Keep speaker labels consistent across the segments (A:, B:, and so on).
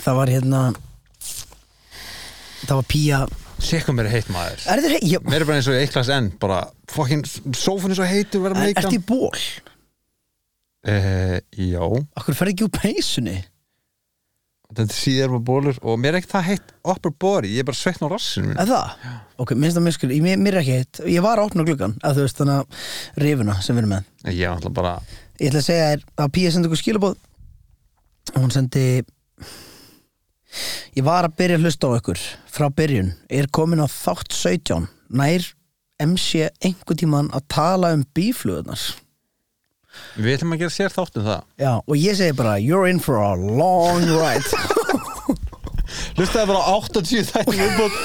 A: það var hérna það var pía
B: Sikkum mér er heitt maður
A: er þér, ég,
B: Mér er bara eins og eiklast enn bara fucking sófinn er svo heitur verða
A: er,
B: með
A: ertu
B: eiklan
A: í ból?
B: Eh, Já,
A: Akkur ferði ekki úr peysunni?
B: þetta síðar var bólur og mér er ekkert það heitt upper body, ég er bara sveitn á rassinu mínu
A: Er það? Ok, minnst það mér skil, ég, mér er ekki heitt Ég var að opna gluggan, að þú veist þannig að rifuna sem við erum með
B: Ég er alltaf bara
A: Ég ætla að segja þér að Pía sendi okkur skilabóð Hún sendi Ég var að byrja að hlusta á ykkur frá byrjun, er komin á þátt 17 nær MC einhver tíman að tala um bíflugunar
B: Við ætlum að gera sér þátt um það
A: Já, og ég segi bara You're in for a long ride
B: Hlustaði bara á 80 þætti viðbót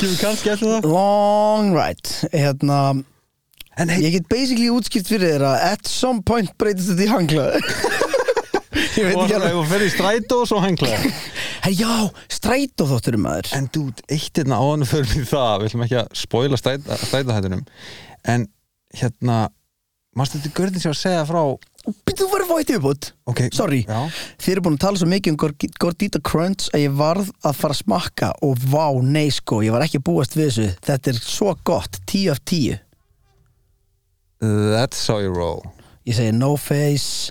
B: Kemur kannski eftir það
A: Long ride Hérna,
B: En hey,
A: ég get basically útskipt fyrir þér að at some point breytist þetta í hangla Ég veit
B: og
A: ekki alveg
B: og fer í strætó og svo hengla
A: Her, Já, strætó þótturum maður
B: En dút, eitt hérna áðan fyrir við það Við ætlum ekki að spoila stræta, strætahættunum En hérna Manstu þetta görðin sem að segja frá
A: Býttu þú verið fóið tilbútt
B: Ok,
A: Sorry.
B: já,
A: Þið eru búin að tala svo mikið um Gord- Gordita Crunch að ég varð að fara að smakka og vá, nei sko, ég var ekki að búast við þessu Þetta er svo gott, 10 af 10
B: That's how you roll
A: Ég segi no face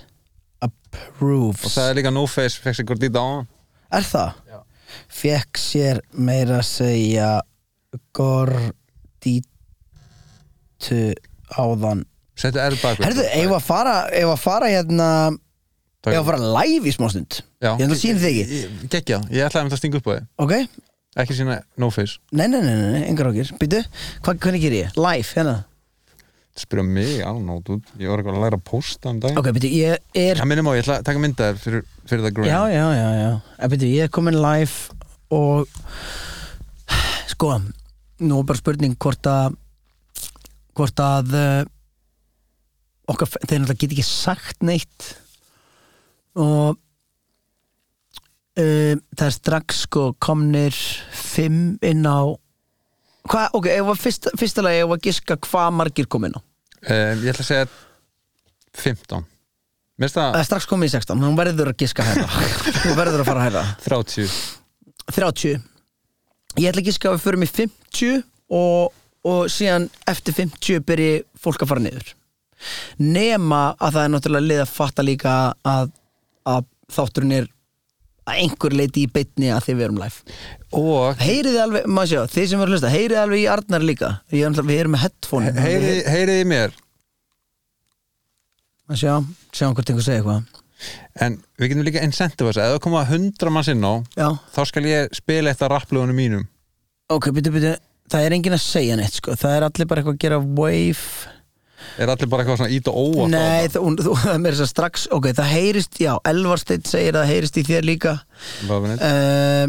B: Og
A: approves
B: það er líka no face, fekk sér gort í dáan
A: Er það?
B: Já.
A: Fekk sér meira að segja Gordita áðan
B: Settu erð bakvið
A: Herðu, eigum við að fara, eigum við að fara hérna
B: Takk.
A: eigum við að fara live í smástund
B: Já.
A: Ég ætla að sína þig ekki,
B: Gekja, ég ætlaði að það stinga upp á þig
A: ok?
B: Ekki sína no face
A: Nei, nei, nei, nei, nei, engar okkur Býtu, hvað, hvernig ger ég? Live, hérna
B: Spyrja mig, I don't know, dude Ég var eitthvað að læra að posta um daginn
A: Ok, býtu, ég er
B: Það minnum á, ég ætla að taka myndaðir fyrir, fyrir það
A: Já,
B: grunn
A: já, já, já En býtu, ég er komin live og sko, nú er bara spurning hvort að hvort að uh, okkar, þeir náttúrulega get ekki sagt neitt og uh, það er strax sko komnir fimm inn á hvað, ok, ef að fyrsta, fyrsta lagi ef að giska hvað margir komin á
B: um, Ég ætla að segja 15 Mér finnst það
A: það er strax komið í 16, hún verður að giska hæra hún verður að fara hæra
B: 30
A: 30 Ég ætla ekki að við förum í 50 og, og síðan eftir 50 byrji fólk að fara niður Nema að það er náttúrulega lið að fatta líka að, að þátturinn er að einhver leiti í beinni að þið verum live
B: Og
A: Heyriði alveg, maður sjá, þið sem eru að hlusta Heyriði alveg í Arnar líka Ég, er náttúrulega- Við erum með headphone
B: heyriði heyri mér
A: Maður sjá, sjá hvort einhver segja eitthvað
B: En við getum líka incentivas Ef það koma 100 manns inn á
A: Já,
B: Þá skal ég spila eitt af rapplöfunum mínum
A: ok, byrju, byrju Það er enginn að segja neitt, sko Það er allir bara eitthvað að gera wave
B: Er allir bara eitthvað svona ít og óa
A: Nei, það, hún, þú, það er meira þess að strax Ok, það heyrist, já, Elvarsteinn segir að það heyrist í þér líka
B: Nei
A: uh,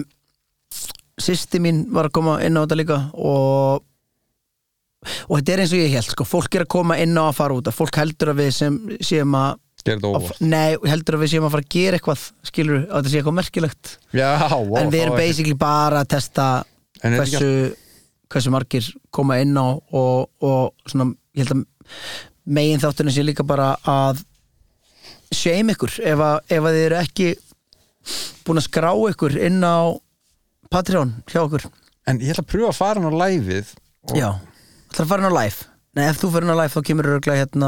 A: Sýsti mín var að koma inn á þetta líka og og þetta er eins og ég held sko, fólk er að koma inn á að fara út að fólk heldur að við sem séum að,
B: Gerðu
A: að
B: óvart
A: nei, heldur að við séum að fara að gera eitthvað skilur, að þetta sé eitthvað merkilegt
B: Já, wow,
A: en við erum
B: þá er-
A: basically bara að testa
B: En er ekki
A: hversu, hversu margir koma inn á og, og svona, ég held að megin þáttunum sé líka bara að shame ykkur ef að, ef að þið eru ekki búin að skrá ykkur inn á Patreon hjá okkur
B: En ég ætla að pröfa að fara hann á liveið og
A: Já, það er farin á live Nei, ef þú farin á live þá kemur örgla hérna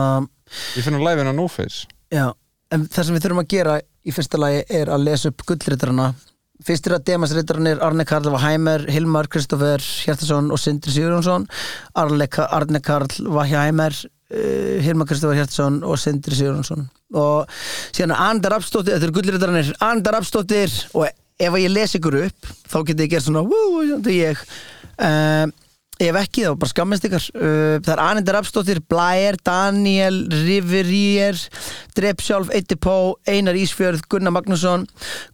B: Ég finn á liveið á no face
A: Já, en það sem við þurfum að gera í fyrsta lagi er að lesa upp gullritarana Fyrst er að demasritarnir Arne Karl Vahæmer, Hilmar Kristoffer Hjartason og Sindri Sigurjónsson Arle, Ka- Arne Karl Vahæmer uh, Hilmar Kristoffer Hjartason og Sindri Sigurjónsson og síðan Andar Rapsdóttir, þetta eru gullritarnir Andar Rapsdóttir og ef að ég les ykkur upp þá geti ég gert svona "Wú, þetta er ég um, Ef ekki þá bara skammist ykkar Uh, Það er Anindar Abstóttir, Blær, Daniel, Riverier, Drepsjálf, Eitipó, Einar Ísfjörð, Gunnar Magnússon,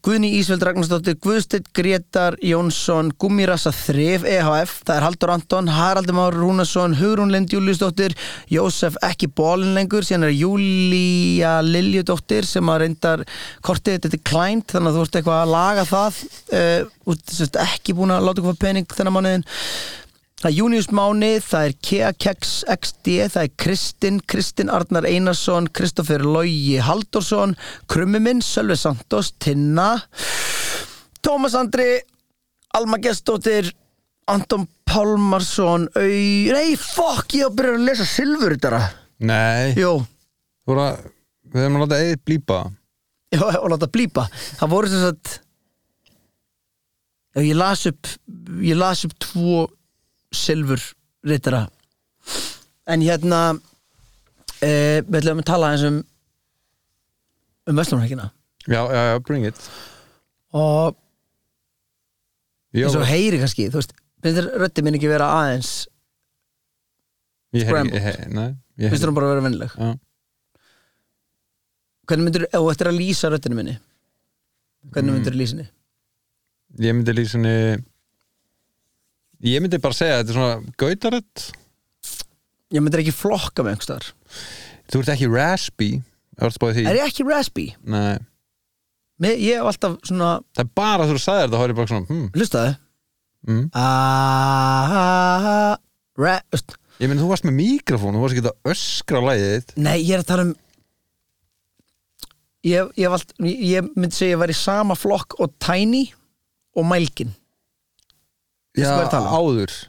A: Guðni Ísveld Ragnarsdóttir, Guðsteinn Gretar Jónsson, Gummirassa Þrif, EHF, það er Haldur Anton, Haraldur Már Rúnarsson, Hugrún Lind Júliusdóttir, Jósef ekki bólin lengur, síðan er Júlía Liljudóttir sem að reyndar kortið þetta er klænt, þannig að þú ert eitthvað að laga það, uh, út, sem sagt, ekki búin að láta eitthvað pening þennan mánuðin. Það er Június Máni, það er Kea Keks XD, það er Kristinn, Kristinn Arnar Einarsson, Kristoffer Logi Haldorsson, Krummi minn, Sölvi Santos, Tinna, Tómas Andri Alma Gestóttir Anton Pálmarsson Au... Nei, fokk, ég á að byrja að lesa Silfur þetta
B: Nei,
A: Jó,
B: þú voru að Við erum að láta eðið blípa
A: já, og láta blípa Það voru sem sagt Já, ég las upp Ég las upp tvo Silfur rittara En hérna e, Við ætlum að tala eins um um Vestlumrækina
B: Já, já, já, bring it
A: og
B: Jó,
A: eins og heyri kannski, þú veist finnst þér röddi minn ekki vera aðeins
B: ég heyri
A: scrambled.
B: ekki- ég heyri- Nei, ég
A: finnst
B: heyri
A: þér hún bara vera vennileg
B: Já.
A: hvernig myndir, ef þú ættir að lýsa röddinu minni hvernig myndir þú lýsa henni
B: Ég myndi lýsa henni Ég myndi bara segja að Þetta er svona gautarödd
A: ég myndir ekki flokka með einhverstaðar
B: Þú ert ekki raspy Það er spáðið því
A: er ég ekki raspy?
B: Nei,
A: Mér, ég hef alltaf svona,
B: það er bara þú sagðir þetta þá er ég bara svona hmm,
A: hlustaðu
B: hmm.
A: aaaaaah ra, öst,
B: Ég myndi þú varst með mikrofón Þú varst ekki að öskra á lagið þitt
A: nei, ég er að tala um ég, ég, hef allt, ég ég myndi segja ég var í sama flokk og Tiny og Mælgin Veistu hvað ég er að tala um?
B: áður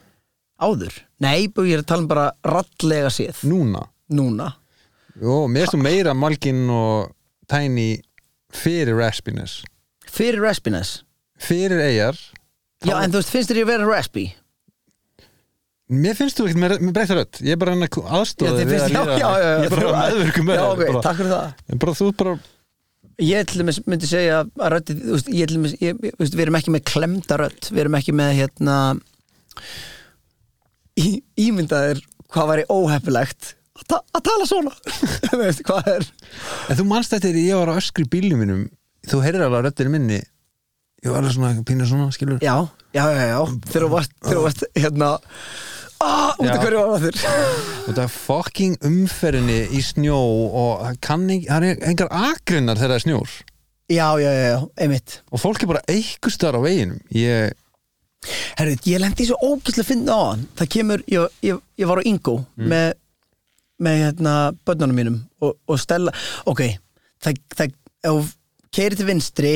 A: áður, nei, ég er að tala um bara rattlega séð,
B: Núna
A: núna
B: Jó, mér finnst þú meira Malkin og Tiny fyrir raspiness
A: fyrir raspiness
B: Fyrir eigar
A: já en þú veist finnst þér ég vera raspy
B: Mér finnst þú ekkert með, með breytta rödd Ég er bara hann að aðstofa þig við
A: já,
B: að líra
A: já, já, já,
B: Ég er bara
A: þú-
B: meðverkum með
A: já,
B: þér,
A: ok,
B: bara-
A: takk fyrir það
B: En bara þú ert bara
A: ég til dæmis myndi segja að röddi, þú veist, ég til dæmis, ég, ég- þú veist, við erum ekki með klemda rödd, við erum ekki með hérna í, ímyndaðir hvað væri óheppilegt að, ta að tala svona þú veist hvað er
B: En þú manst þetta þegar ég var að öskri bílum mínum Þú heyrðir alveg röddinu minni Ég var alveg svona pínu svona, skilur
A: já, já, já, já, þegar þú varst, þegar þú varst hérna Ah, út af
B: Já.
A: hverju var það þér
B: Og það er fucking umferðinni í snjó Og það kann ekki, það er engar akrinnar þegar það er snjór
A: Já, já, já, já, einmitt
B: Og fólk er bara eikustar á veginum Ég,
A: Herru, ég lendi í svo ógæslega finna á hann Það kemur, ég, ég, ég var á Ingo með, með hérna börnunum mínum og, og stella ok, það, það ef keiri til vinstri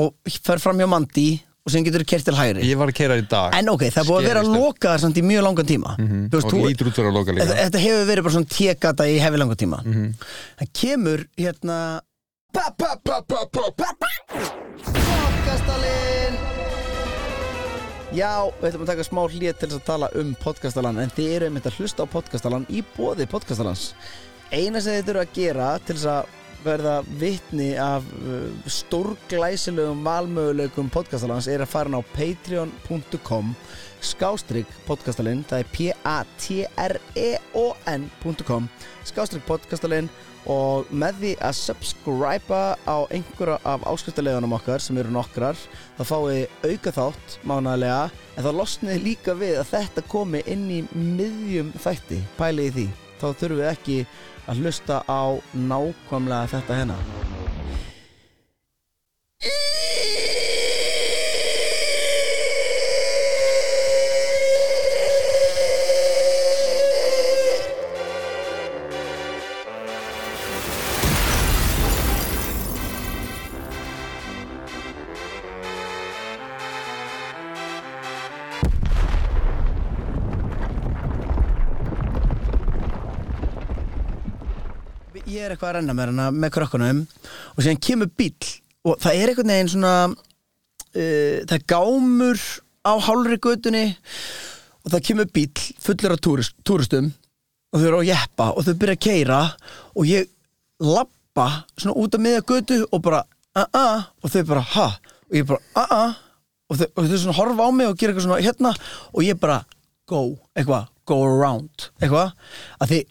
A: og fer fram hjá mandi og sem getur keiri til hægri
B: ég var að keira í dag
A: en ok, það er búið að vera
B: Skerist.
A: lokaðar samt í mjög langan tíma Þú
B: Mhm. og
A: þú-
B: lítur út fyrir að loka líka
A: þetta, þetta hefur verið bara svona tekata í hefi langan tíma það kemur hérna podcastalinn Já, við ætlum að taka smá hlýja til þess að tala um podcastalann en þið eru einmitt að hlusta á podcastalann í bóði podcastalans Eina sem þið þurfa að gera til þess að verða vitni af uh, stórglæsilegum valmöguleikum podcastalans er að fara inn á patreon.com skástrygg podcastalinn það er E p-a-t-r-e-o-n.com skástrygg podcastalinn og með því að subscriba á einhverja af áskriftalegunum okkar sem eru nokkrar þá fáið þið auka þátt mánaglega en þá losnið þið líka við að þetta komi inn í miðjum þætti pælið í því þá þurfum við ekki að hlusta á nákvæmlega þetta hérna ég er eitthvað að renna með hana með krökkunum og síðan kemur bíll og það er einhvern veginn svona uh, það er gámur á hálfri götunni og það kemur bíll fullur af túrist, túristum og þau eru á jeppa og þau byrja að keira og ég lappa svona út af miðja götu og bara a-a og þau bara ha og ég bara a-a og þau, og þau svona horfa á mig og gera eitthvað svona hérna og ég bara go, eitthvað, go around eitthvað, að því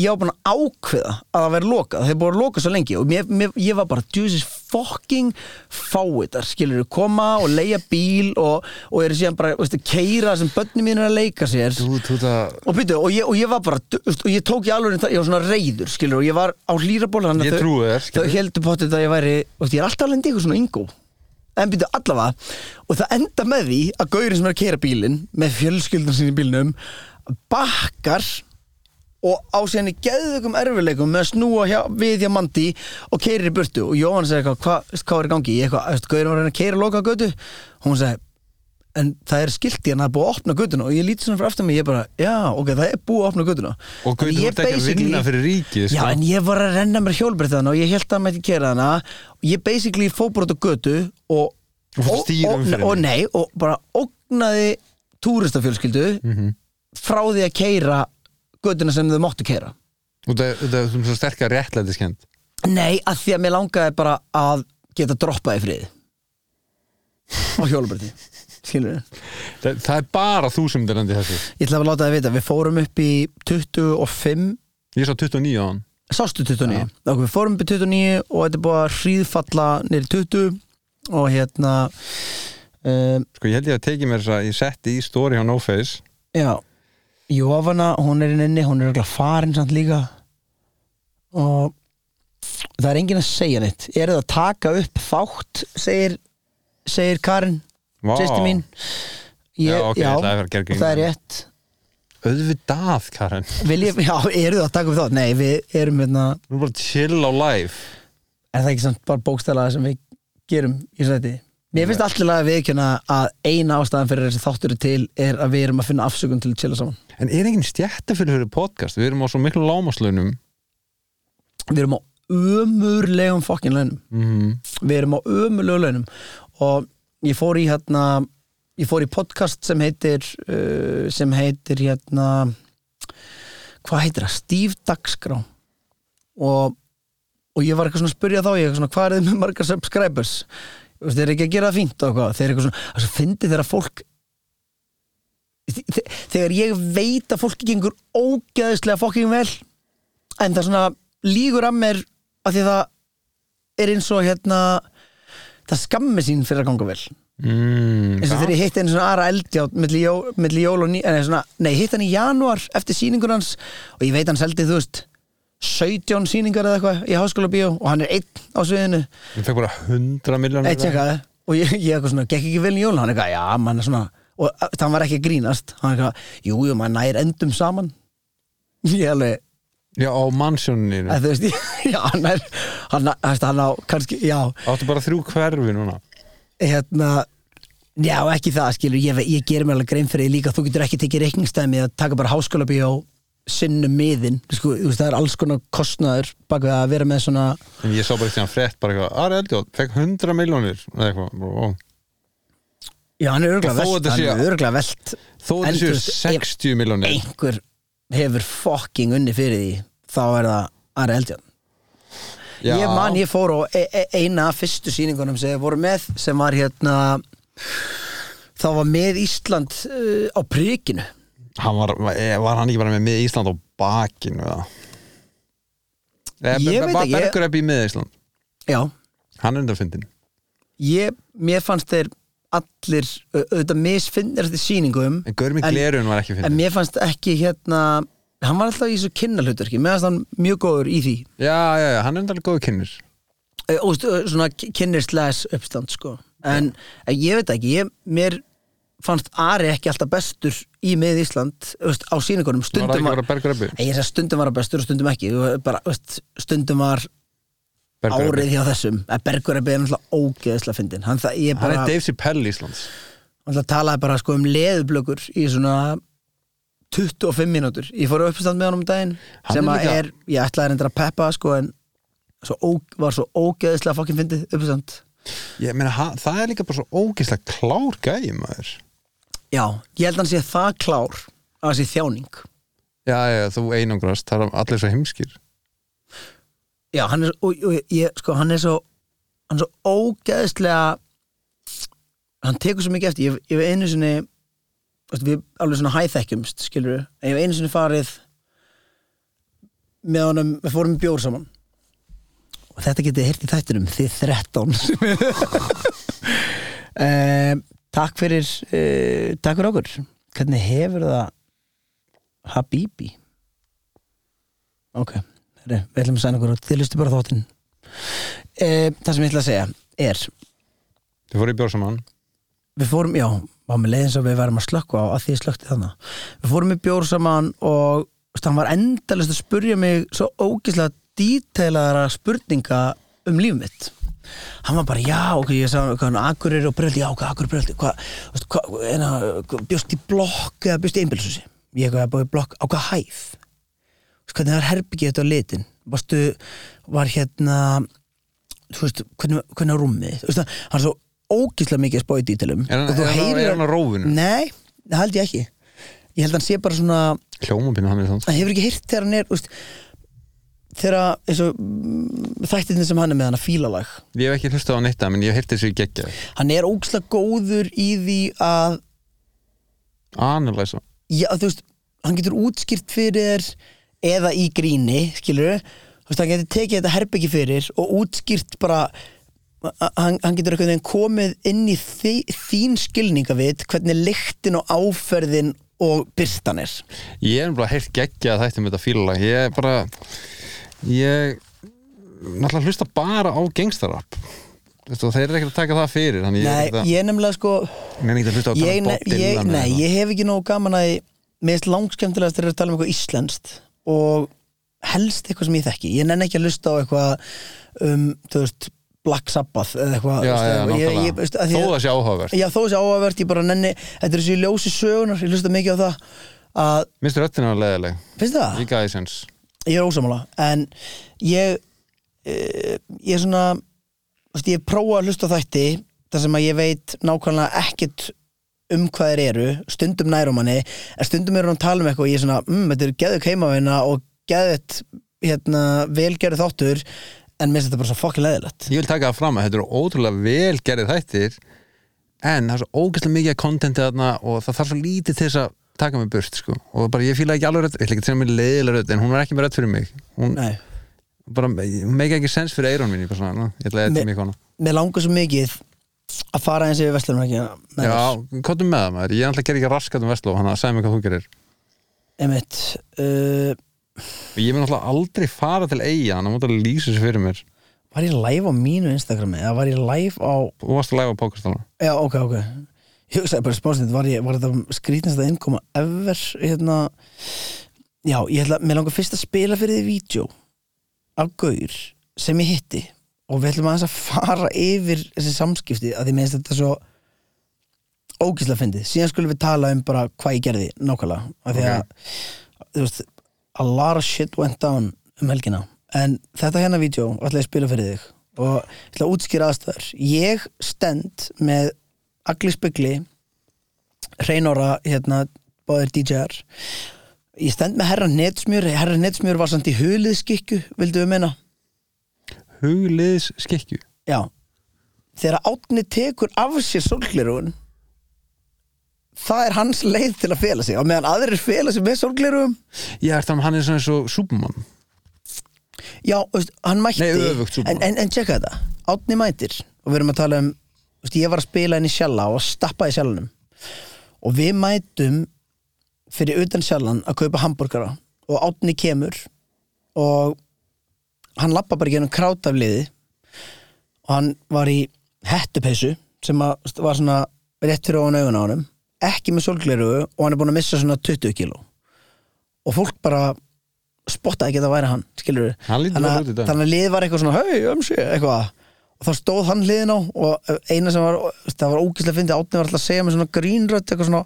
A: ég var búin að ákveða að það væri lokað þeir búin að loka svo lengi og mér, mér, ég var bara Jesus fucking fáiðar skilur koma og leia bíl og, og eru síðan bara veistu, keira sem börnum mín er að leika sér
B: þú, þú, það,
A: og, byrju, og, ég, og ég var bara veistu, og ég tók í alveg það, ég var svona reyður skilur og ég var á hlýraból þannig
B: Ég
A: að
B: trúi þér,
A: þau,
B: skilurðu.
A: þau heldur potið að ég væri veistu, ég er alltaf að lenda í ykkur svona yngó en byrju allavega og það enda með því að gaurin sem er að keira bílinn með fjölskyldan sinni í bílnum bakkar og á síðan í geðveikum erfiðleikum með að snúa hjá, við hjá Mandi og keirir í burtu og Jóhann segir eitthvað, "Hva- veist, hvað er í gangi? Ég eitthvað, veist, Gaurin var að reyna að keira að loka götu hún segir, en það er skilt í hann að búa að opna götuna og ég líti svona fyrir aftur mig, ég bara, já, ok, það er búið að opna götuna
B: Og Gauti,
A: En
B: þú
A: ég
B: ert ekki að
A: basically-
B: vinna fyrir ríkið, sko.
A: Já, en ég var að renna mér hjólbrið þannig og ég held að maður ekki kera hana og ég basically fóbrot á götu og
B: Og fórst að stýra
A: og, og,
B: umferðinni.
A: og nei, og bara ógnaði túristafjölskyldu frá því að keira götuna sem þau máttu keira
B: og það er- það er svona sterkar réttlætiskend
A: Nei, að því að mér langaði bara að geta droppað í friði á hjólbriði skilur við
B: það, það er bara þú sem derandi þessu
A: Ég ætla að láta það vita, við fórum upp í 25
B: ég sá 29 á hann
A: Sástu 29? Ja. Við fórum upp í 29 og þetta er búið að hríðfalla nýri 20 og hérna um,
B: sko ég held ég að teki mér þess að ég setti í story á NoFace
A: Já Jófana, hún er inn inni, hún er örugglega farin samt líka og það er enginn að segja neitt er það að taka upp þátt segir, segir Karin
B: Vá.
A: sýsti mín ég,
B: Já, ok, ég ætlaði að vera að gera grín.
A: það er rétt
B: auðvitað Karen
A: Vil ég, Já, eru það að taka upp þátt? Nei, við erum hérna,
B: þú er bara chill á live
A: er það ekki samt bara bókstælaða sem við gerum í sæti Mér finnst allir laga viðkjöna að eina ástæðan fyrir þessi þáttur er til er að við erum að finna afsökun til að chilla saman
B: en er engin stjætta fyrir fyrir podcast við erum á svo miklu lámaslaunum
A: Við erum á ömurlegum fokkin launum
B: mm -hmm.
A: Við erum á ömurlegum launum og ég fór í hérna ég fór í podcast sem heitir uh, sem heitir hérna hvað heitir það? Stíf Dagskrá og, og ég var eitthvað svona að spyrja þá ég eitthvað svona hvað er þið með margar subscribers Þú veist, þeir eru ekki að gera það fínt og hvað þeir eru eitthvað svona, þess að fyndi þegar fólk þe- þegar ég veit að fólki gengur ógeðislega fokking vel en það svona lígur að mér að því það er eins og hérna það skammi sín fyrir að ganga vel
B: Mm,
A: eins og þegar ég hitt einu svona aðra eldjátt milli, jó, milli jól og ný en svona, nei, hitt hann í janúar eftir sýningur hans og ég veit hann seldi, þú veist 17 sýningar eða eitthvað í háskóla bíó og hann er einn á sviðinu
B: ég fekk bara 100 miljónir
A: eitt tjekkaði og ég, ég eitthvað svona, gekk ekki vel í jól hann er eitthvað, já, mann er svona og það var ekki að grínast hann er eitthvað, jú, jú, mann nær endum saman ég alveg,
B: já á mansjóninu
A: að, þú veist, já, hann er hann, hann, hann á, kannski, já
B: áttu bara þrjú hverfi núna
A: hérna Já, ekki það, skilur, ég, ég gerir mér alveg grein fyrir því líka, þú getur ekki tekið reikningstæmi að taka bara háskóla bíó sinnum miðin, sko, þú veist, það er alls konar kostnaður bak við að vera með svona
B: en ég sá bara eitthvað frétt bara eitthvað Ari Eldjótt fekk 100 miljónir eða eitthvað bara, ó.
A: Já, hann er örglega
B: Þó
A: velt,
B: þetta
A: hann
B: sé-
A: er örglega velt
B: þó
A: En
B: þessu
A: þú veist, ef
B: 60 miljónir
A: einhver hefur fokking unni fyrir því þá er það Ari Eldjón
B: Já.
A: Ég man, ég fór á e e eina af fyrstu sýningunum sem ég voru með sem var hérna þá var með Ísland uh, á prikinu
B: hann var, var hann ekki bara með mið Ísland á bakinu eða Eh,
A: Ég veit ekki, ég-
B: Bergur upp í mið Ísland
A: Já,
B: hann er undan fyndin
A: ég, mér fannst þeir allir, au- auðvitað misfinnir eftir sýningum,
B: en Gaur með
A: En-
B: glerun var ekki
A: en
B: fyndin
A: mér fannst ekki hérna, hann var alltaf í þessu kynnalhutverki mér fannst hann mjög góður í því
B: já, já, já, hann er undan góðu kynnir
A: Eh, og stu- eh, svona kynnirslæs uppstand sko, en en ég veit ekki ég, mér fannst Ari ekki alltaf bestur í mið Ísland þú veist, á sýningunum,
B: var
A: stundum
B: ekki
A: var
B: bara Bergur uppi
A: Nei, ég sagði stundum var hann bestur og stundum ekki Þú bara, þú veist, stundum var
B: Bergur
A: árið hjá þessum að Bergur er beðið náttúrulega ógeðislega fyndin hann, það, ég
B: hann
A: bara,
B: er Dave Chappelle Íslands
A: Alltaf talaði bara sko um leðublökur í svona 25 mínútur Ég fór í uppstand með honum um daginn
B: Hann
A: sem
B: er
A: að
B: líka-
A: er, ég ætlaði reyndar að peppa það, sko en svo ó, var svo ógeðislega fokkin fyndið uppstand
B: ég meina, hann, það er líka bara svo ógeðslega klár gæi maður
A: Já, ég held að hann sé það klár að það sé þjáning
B: já, já, þú einangrast, það er allir svo heimskir
A: Já, hann er, og, og, ég, sko, hann er svo hann er svo ógeðislega hann tekur svo mikið eftir ég, ég hef einu sinni þú veist, við alveg svona hæþekkjumst, skilur við ég hef einu sinni farið með honum, við fórum í bjór saman og þetta getið hirt í þættinum þið 13 um, takk fyrir uh, takk fyrir okkur hvernig hefur það Habibi ok, Heyrðu, við ætlum að sæna okkur út þið lustu bara á þáttinn um, það sem ég ætla að segja er
B: þú fór í bjór saman
A: við fórum, já, var með leiðin sem við værum að slökka á að því ég slökkti þannig við fórum í bjór saman og veist, hann var endalist að spurja mig svo ógislega dítelaðara spurninga um líf mitt hann var bara, já, ok, ég sagði hann Akureyri og Bröldi, já, ok, Akureyri og Bröldi hvað, þú veist, hvað, hérna, bjóst í blokk eða bjóst í einbjölsúsi ég hef búið í blokk á hvað hæð Þú veist, hvernig var herbyggið þetta á litin varstu, var hérna þú veist, hvernig, hvernig var rúmið þú veist, hann er svo ógislega mikið að spá í dítilum
B: Er hann-
A: og þú
B: er hann-
A: heyrir
B: er hann á rófinu?
A: Nei, það held ég ekki Ég held hann sé bara svona
B: hljómabinu hann er þannig
A: hann hefur ekki heyrt þegar hann er úst, þegar eins og mm, þættirnir sem hann er með hann að fílalag
B: ég hef ekki hlustað á neitt að, menn ég hef hirtið sér geggja
A: hann er ógislega góður í því að
B: analysa
A: já, þú veist, hann getur útskýrt fyrir þér eða í gríni, skilur þú veist, hann getur tekið þetta herbyggi fyrir og útskýrt bara a- hann, hann getur einhvern veginn komið inn í þi, þín skilningavit hvernig lyktin og áferðin og byrstan er
B: ég er bara heyrt geggja að þætti með þetta fílalag ég er bara ég náttúrulega hlusta bara á gangstarapp þeir eru ekkert að taka það fyrir þannig ég er
A: Nei,
B: ekkert að-
A: ég nefnilega sko
B: Mér er ekki að hlusta á
A: ég,
B: Bob
A: ne, ég,
B: Dylan
A: nei,
B: eða
A: ég hef ekki nógu gaman að ég- mér finnst langskemmtilegast þegar við tala um eitthvað íslenskt og helst eitthvað sem ég þekki ég nenni ekki að lusta á eitthvað um, þú veist, Black Sabbath eða eitthvað,
B: eitthvað. já,
A: þú veist,
B: já,
A: eitthvað. ég, ég, veist, að
B: náttúrulega
A: því
B: þó
A: að-
B: það sé áhugavert
A: já, þó þessi áhugavert, ég bara nenni þetta er þessi ljósi sögunar, ég lusta mikið á það að,
B: minnst röttin er leðileg,
A: finnst þið það?
B: líka aðeins
A: ég er ósamála, en ég eh, ég er svona þú veist, ég prófa að hlusta á þætti þar sem að ég veit nákvæmlega ekkert um hvað þeir eru, stundum nærum manni en stundum eru hann að tala um eitthvað og ég er svona, mm, þetta eru geðug heimavina og geðut hérna, velgerðu þáttur en mér finnst þetta bara svo fokkin leðilegt
B: ég vil taka það fram að þetta eru ótrúlega vel gerðið þættir en það er svo ógæslega mikið kontentið þarna og það þarf svo lítið til þess að taka mig burt sko. og bara ég fíla ekki alveg rödd ég ætla ekki að segja mér leiðilega rödd en hún var ekki með rödd fyrir mig hún
A: Nei.
B: bara, hún meika ekki sens fyrir eirun mín ég, bara svona, "Nú, ég ætla að
A: Me-
B: eitthvað mikið hana
A: mér langar svo mikið að fara eins yfir vestlunum ekki
B: já, kottum með það maður, ég ætla að gera ekki raskat um vestló hann að segja mig hvað þú gerir
A: einmitt uh,
B: og ég mun alltaf aldrei fara til eiga hann mútt að lýsa þessu fyrir mér
A: var ég live á mínu Instagrami eða var ég live á
B: og varst að læfa á pókastana
A: Já, ok, ok Ég hugsaði bara spánsnið, var, ég- var þetta skrýtnasta innkoma ever hérna Já, ég ætla, mér langar fyrst að spila fyrir því vídeo af gaur sem ég hitti og við ætlum aðeins að fara yfir þessi samskipti að því meðist þetta svo ógislega fyndið síðan skulum við tala um bara hvað ég gerði nákvæmlega af því að, þú veist a lot of shit went down um helgina en þetta hérna vídeo ætla ég að spila fyrir þig og ég ætla að útskýra aðstæður ég stend með agli spegli reynora hérna báðir DJR ég stend með herra netsmjör herra netsmjör var samt í huliðskikku vildu við meina
B: hugliðs skikju
A: Já Þegar átni tekur af sér sólglerun Það er hans leið til að fela sig og meðan aðrir fela sig með sólglerun
B: ég er þannig hann er svona eins og Superman
A: Já, þú veist, hann mætti
B: Nei, öfugt, Superman.
A: en, en, en tjekka þetta, átni mætir og við erum að tala um þú veist, Ég var að spila henni sjalla og stappa í sjallanum og við mætum fyrir utan sjallan að kaupa hambúrgara og átni kemur og hann lappa bara genum krát af liði og hann var í hettupeysu sem að, st- var svona rétt fyrir ofan augun á honum ekki með sólgleru og hann er búin að missa svona 20 kíló og fólk bara spottaði ekki að það væri hann skilur
B: Hann lítur vel út í dag.
A: þannig að lið var eitthvað svona hei, um sig, eitthvað og þá stóð hann liðin á og eh, eina sem var, það var ógislega fyndið átni var alltaf að segja með svona grínrödd eitthvað svona,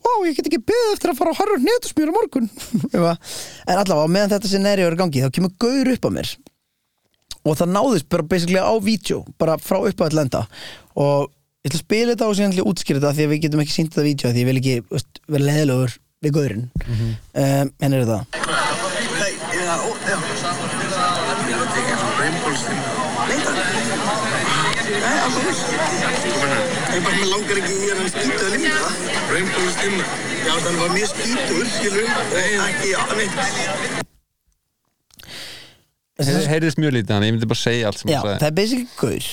A: ó, ég get ekki beðið eftir að fara á harfur netusmjör á morgun Eitthvað. en allavega, á meðan þetta scenario er í gangi þá kemur gaur upp á mér og það náðist bara basically á vídeo bara frá upp að lenda og ég ætla að spila þetta og síðan ætla ég að útskýra þetta af því að við getum ekki sínt þetta vídeo af því ég vil ekki þú veist, vera leðilegur við gaurinn mm -hmm. um, en er þetta
C: Nei, já, ó, já. Ég bara mér langar ekki í hennan skýtu að limta Rainbow Stimmer Já, þannig var mjög skýtur, skilur og ekki, já, neitt
B: Heyri- heyrðist mjög lítið hann, ég myndi bara segja allt sem
A: Já,
B: hann sagði
A: það er basically gaur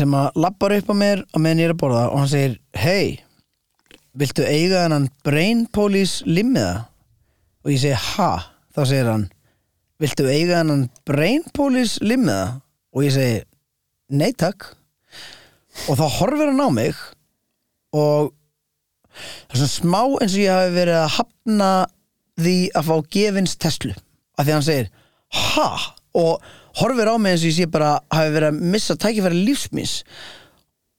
A: sem að lappar upp á mér og meðan ég er að borða og hann segir hei, viltu eiga þennan brain police limmiða? og ég segi ha þá segir hann, viltu eiga þennan brain police limmiða? og ég segi, nei takk og þá horfir hann á mig og það er svona smá eins og ég hafi verið að hafna því að fá gefins Tesla af því að hann segir ha og horfir á mig eins og ég sé bara hafi verið að missa tækifæri lífsmins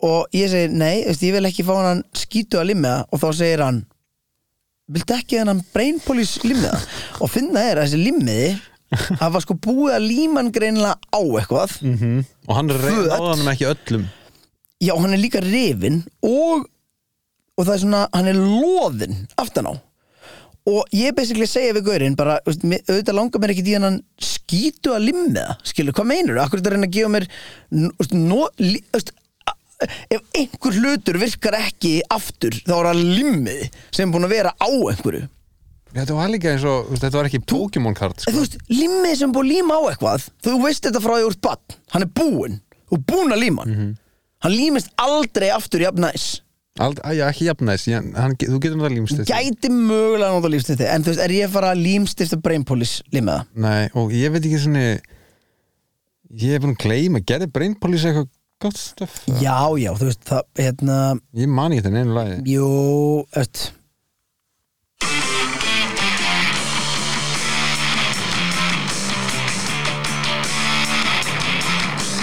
A: og ég segir nei, veist, ég vil ekki fá hann skítu að limmiða og þá segir hann viltu ekki þennan brain police limmiða og finna er að þessi limmiði það var sko búið að líman greinilega á eitthvað
B: og hann reyði
A: Föt.
B: náðanum ekki öllum
A: já, hann er líka rifin og, og það er svona, hann er loðin aftan á og ég basically segja við gaurinn bara, þú veist, mér- auðvitað langar mér ekki því að hann skýtu að limmiða, skilur, hvað meinur akkur þetta að reyna að gefa mér n- þú veist, no, lí, þú veist, a- ef einhver hlutur virkar ekki aftur þá er það limmið sem er búin að vera á einhverju
B: þetta var líka eins og, þú veist, þetta var ekki Pokémon kart
A: En
B: sko.
A: þú veist, limmið sem er búið að líma á eitthvað þú veist þetta frá því úr bann, hann er búinn þú er búinn að líma hann hann límist aldrei aftur jafn næs
B: Ald, að, já, ekki jafnæs, já, hann, þú getur náttúrulega límst
A: gæti mögulega nota lífstifti en þú veist, er ég að fara að límstifta brainpolis limmiða?
B: Nei, og ég veit ekki svona ég er búin að gleyma gerði Brain Police eitthvað gott stöf
A: Já, já, þú veist, það, hérna
B: ég man ekki þetta neina lagi
A: jú, öll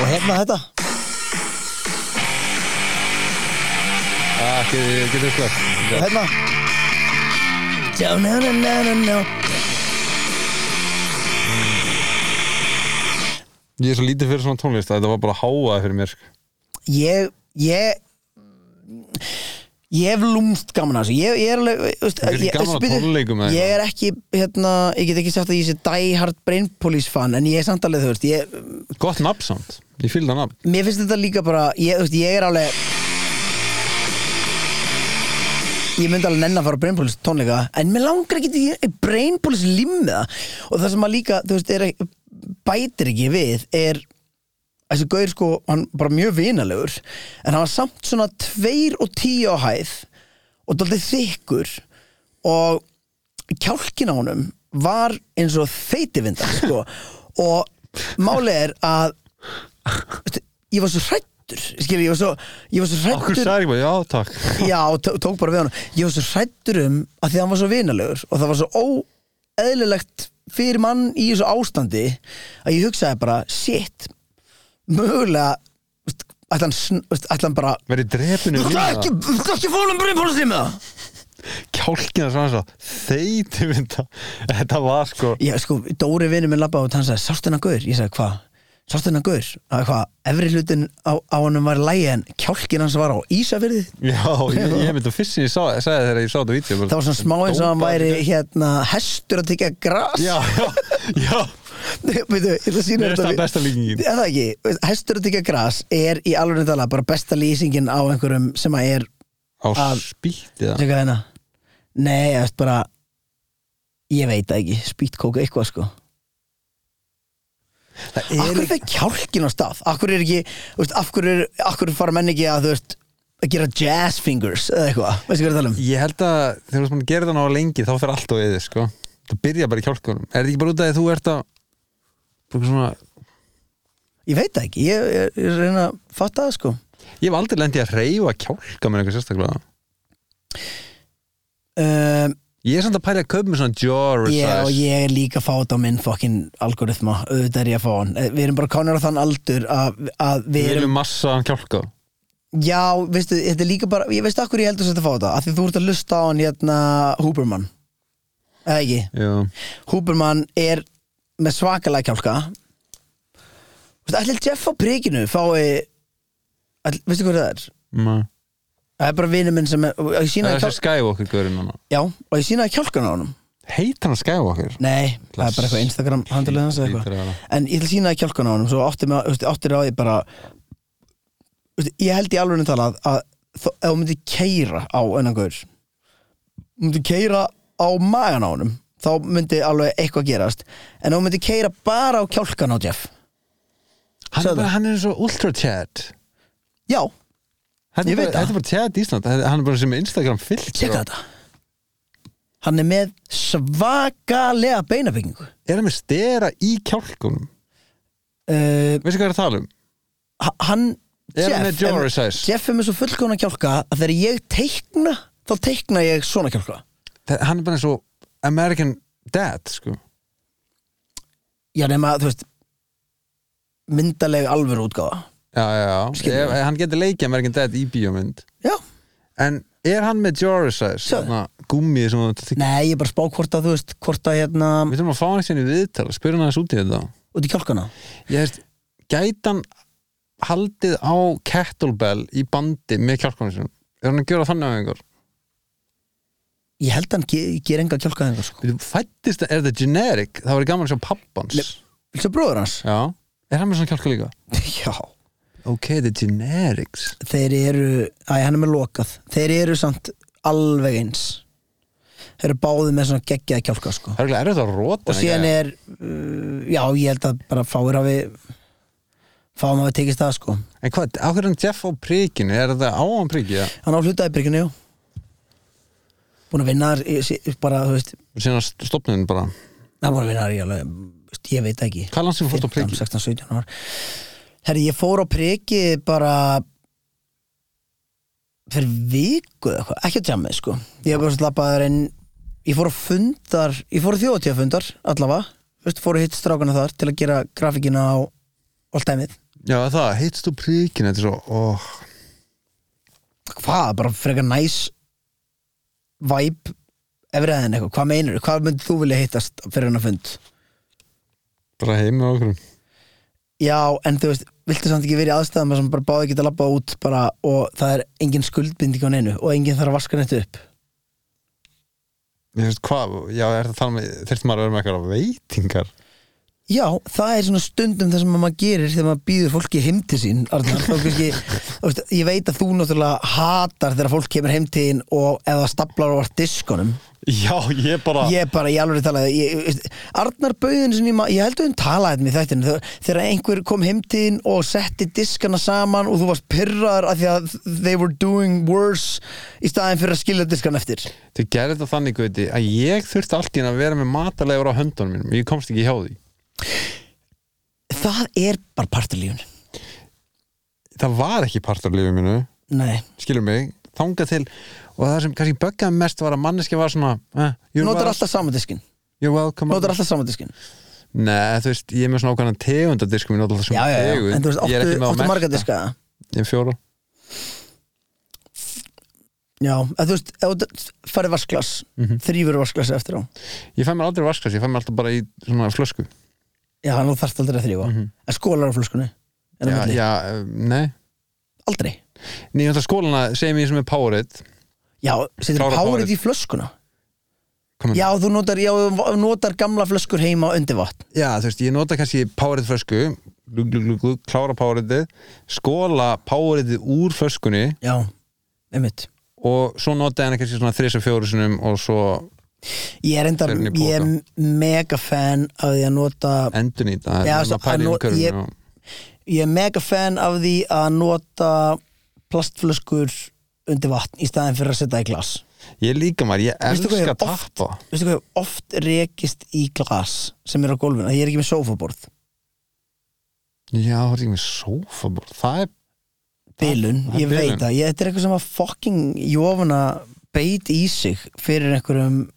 A: og hérna þetta
B: ah, getur, getur slöf
A: og hérna já, na, na, na, na, na.
B: ég er svo lítið fyrir svona tónlist að þetta var bara háaði fyrir mér sko.
A: ég, ég ég hef lúmst gaman að þessu ég, ég er alveg þú veist,
B: Þú getur
A: ég,
B: gaman að
A: spytu-
B: tónleikum eða
A: ég
B: eitthvað.
A: er ekki hérna, ég get ekki sagt að ég sé die hard brain police fan en ég er samt alveg þú veist ég,
B: gott nafn samt, ég fylgði það nafn
A: mér finnst þetta líka bara ég, þú veist, ég er alveg ég myndi alveg nenn að fara á brain police tónleika en mér langar ekki til brain police limmiða og það sem að líka þú veist, er, ekki- bætir ekki við er þessi gaur sko, hann bara mjög vinalegur en hann var samt svona tveir og tíu á hæð og daldið þykkur og kjálkin á honum var eins og þeitivindar sko. og málið er að veistu, ég var svo hrættur skilur, ég var svo, ég var svo
B: okkur
A: hrættur
B: sagði ég bara, já takk
A: já, og tó- tók bara við hann ég var svo hrættur um að því að hann var svo vinalegur og það var svo óeðlilegt fyrir mann í þessu ástandi að ég hugsaði bara, shit mögulega veist, ætla hann, sn- veist, ætla hann bara
B: verið um drepinu
A: Þú ert ekki, þú ert ekki fólum brunpólustið með það
B: kjálkina svona svo þeiti mynda, þetta var sko
A: Já, sko, Dóri vinur minn labbaði út, hann sagði, sástu hennar gaur? Ég sagði, hvað? Sástu hennar gaur? Það er hvað, efri hlutin á, á honum var lægi en kjálkin hans var á Ísafyrði
B: já, ég, ég myndi fyrst sem ég sá, sagði þegar ég sá þetta vídeo
A: Það var svona smá eins og hann væri hérna hestur að tekja gras
B: já, já, já,
A: Veitu, ég ætla að sína
B: Mér finnst það besta líkingin.
A: Er það ekki, Veist, hestur að tekja gras er í alveg tala bara besta lýsingin á einhverjum sem að er,
B: á
A: Að-
B: spýtti það
A: tjekka hérna Nei, ég veist bara ég veit það ekki, spýtkóka eitthvað sko
B: það er
A: Akkur fer kjálkin á stað Akkur er ekki, þú veist, akkur, er, akkur fara menn ekki að, þú veist, að gera jazz fingers eða eitthvað, veistu hvað ég er að tala um
B: Ég held að þegar þú ert búin að gera það náða lengi þá fer allt á yfir, sko Það byrja bara í kjálkunum Er þetta ekki bara út af því að þú ert að bara svona,
A: Ég veit það ekki, ég, ég, ég reyna að fatta það sko
B: Ég hef aldrei lendið að reyfa kjálka með eitthvað sérstaklega
A: um,
B: Ég er samt að pæla að kaupa með svona jaw
A: ég, og
B: resize
A: ég er líka að fá þetta á minn fokkin algoritma, auðvitað er ég að fá hann Eh, Við erum bara kánir á þann aldur að, að við
B: Við
A: erum
B: erum massa hann kjálka
A: Já, veistu, þetta er líka bara Ég veistu akkur ég heldur þess að fá þetta, af því þú ert að lusta á hann hérna Huberman Eða ekki?
B: Já,
A: Huberman er með svakalega kjálka Þú veist, ætlir Jeff á prikinu fái ætl, veistu hvað það er?
B: ma
A: Það er bara vinur minn sem er, og ég
B: Það
A: sína
B: er
A: kjál...
B: þessi Skywalker gaurinn hann
A: Já, og ég sína kjálkan á honum
B: Heit hann Skywalker?
A: Nei, það er bara eitthvað Instagram handlið hans eða
B: Hlýtur að
A: eitthvað
B: vera.
A: En ég ætla að sína kjálkan á honum svo áttir á, áttir á því bara þú veist, ég held í alveg talað að þó, ef hún myndi keira á ennan gaur hún myndi keira á magan á honum þá myndi alveg eitthvað gerast en ef hún myndi keira bara á kjálkan á Jeff
B: Hann
A: Sagði
B: er, bara, hann er eins og ultra chat
A: Já,
B: Þetta
A: Ég
B: er bara-
A: veit það.
B: þetta er bara chat í Ísland Hann er bara sem Instagram fyllt
A: tjekka þetta Hann er með svakalega beinabyggingu
B: Er hann með stera í kjálkunum?
A: uh,
B: Veistu hvað er að tala um?
A: ha- Hann
B: Er hann með
A: Jeff,
B: jaw
A: er,
B: resize?
A: Jeff er með svo fullkona kjálka að þegar ég teikna þá teikna ég svona kjálka
B: það, hann er bara eins og American dad sko.
A: já nema, þú veist myndaleg alvöru útgáfa
B: já, já, já.
A: Skilur
B: Ef, hann getur leikja American Dad í bíómynd
A: já,
B: en er hann með Jorisize
A: Sjáðu.
B: gummið sem þú þykir
A: nei, ég er bara að spá hvort að þú veist hvort að hérna,
B: við þurfum að fá hann sinni viðtala, spyrir hann aðeins út í þetta
A: út í kjálkana
B: ég veist, gætan haldið á kettlebell í bandi með kjálkunum sinum er hann að gjöra þannig að einhver
A: ég held að hann ge ger enga kjálkaðingar sko.
B: Við fættist, er þetta generic það var gaman að sjá pappans
A: Le- svo bróður hans
B: já, er hann með svona kjálka líka
A: já,
B: ok, þetta er generics
A: þeir eru æ, hann er með lokað, þeir eru samt alveg eins þeir eru báði með svona geggjaði kjálka sko.
B: það er eiginlega erfitt að róta
A: og síðan er uh, já, ég held að bara fáir hafi fáum hafi tekist það sko
B: en hvað, á hverjum Jeff á prikinu er þetta á hann prikið ja?
A: hann á hlutaði byrginu, já búin að vinna þar í- sí- bara, þú veist
B: og síðan stopnum bara
A: hann búin að vinna þar í alveg, þú veist, ég veit ekki
B: hvað er hann sem fórst
A: 15,
B: á prikið?
A: 16, 17 ár herri, ég fór á priki bara fyrir viku eða eitthvað, ekki að tjámið sko ég hef bara slappaður en ég fór á fundar, ég fór á þjóðatíðafundar allavega, þú veist, fór að hitt strákana þar til að gera grafíkina á allt dæmið
B: já, það, heitst þú prikinu þetta er svo, óh
A: hvað, bara frekar næs væp efriðin eitthvað, hvað meinar, hvað myndið þú vilja hittast fyrir hennar fund?
B: bara heim með okkur
A: Já, en þú veist, viltu samt ekki verið í aðstæðum þar sem bara báði geta labbað út bara og það er engin skuldbinding á neinu og engin þarf að vaska neitt upp
B: ég veist hvað, já, er það þannig þurftum maður að vera með eitthvað veitingar
A: Já, það er svona stundum það sem að maður gerir þegar maður býður fólki heim til sín Arnar, þá kannski, þú veist, ég veit að þú náttúrulega hatar þegar fólk kemur heim til þín og eða staplar á diskonum
B: já, ég bara
A: ég er bara, ég alveg talaði ég, veist, Arnar Böðin sinni, ég held að hún talaði með þetta þegar, þegar einhver kom heimtíðin og setti diskana saman og þú varst pyrraður af því að they were doing worse í staðin fyrir að skilja diskana eftir
B: þau gerði þetta þannig guti að ég þurfti allt í hann að vera með matalegur á höndunum mínum ég komst ekki hjá því
A: það er bara parturlífun
B: það var ekki partur af lífið mínu,
A: nei,
B: skilur mig þangað til, og það sem kannski böggaði mest var að manneski var svona eh, you're,
A: notar
B: wel-
A: alltaf sama diskin
B: you're welcome
A: notar alltaf sama diskin
B: Nei, þú veist, ég er með svona ákvæmna tegund af diskum, ég nota alltaf
A: já,
B: svona
A: já, já,
B: tegund
A: en þú veist,
B: Ég er
A: áttu,
B: ekki með á
A: áttu marga
B: mesta.
A: diska
B: Ég er fjóra
A: já, en þú veist, ef þú farið vasklas
B: Mhm.
A: þrýfur vasklas eftir á
B: Ég fæ mér aldrei vaskast, ég fæ mér alltaf bara í svona flösku
A: já, nú þarft aldrei að þrýfa en skólar á flöskunni, en á
B: Mhm. Já,
A: milli
B: já, eh, nei
A: aldrei
B: Nei, ég ætla skólana, segjum ég sem er Powerade
A: Já, setur
B: Klára
A: párið
B: párið.
A: í flöskuna
B: Komum.
A: Já, þú notar, já, þú notar gamla flöskur heima undir vatn
B: Já, þú veist, ég nota kannski Powerade flösku glug, glug, glug, glug, klára Powerade skóla Powerade úr flöskunni
A: Já, einmitt
B: og svo nota ég hana kannski svona þrisa fjóru sinum og svo
A: Ég er enda,
B: Fer hún í
A: ég er mega fan af því að nota
B: endun í það
A: Já, svo- að
B: no,
A: nú- ég-
B: ég...
A: Ég er mega fan af því að nota plastflöskur undir vatn í staðin fyrir að setja í glas
B: ég líka maður, ég
A: Veistu hvað ég
B: elska
A: hef oft-
B: tappa
A: Veistu hvað, ég hef oft rekist í glas sem er á gólfinu, að ég er ekki með sofaborð
B: Já, það er ekki með sófaborð Það er,
A: Bilun,
B: Það er
A: ég veit
B: bilun.
A: að ég, þetta er eitthvað sem að fucking jófuna beit í sig fyrir einhverjum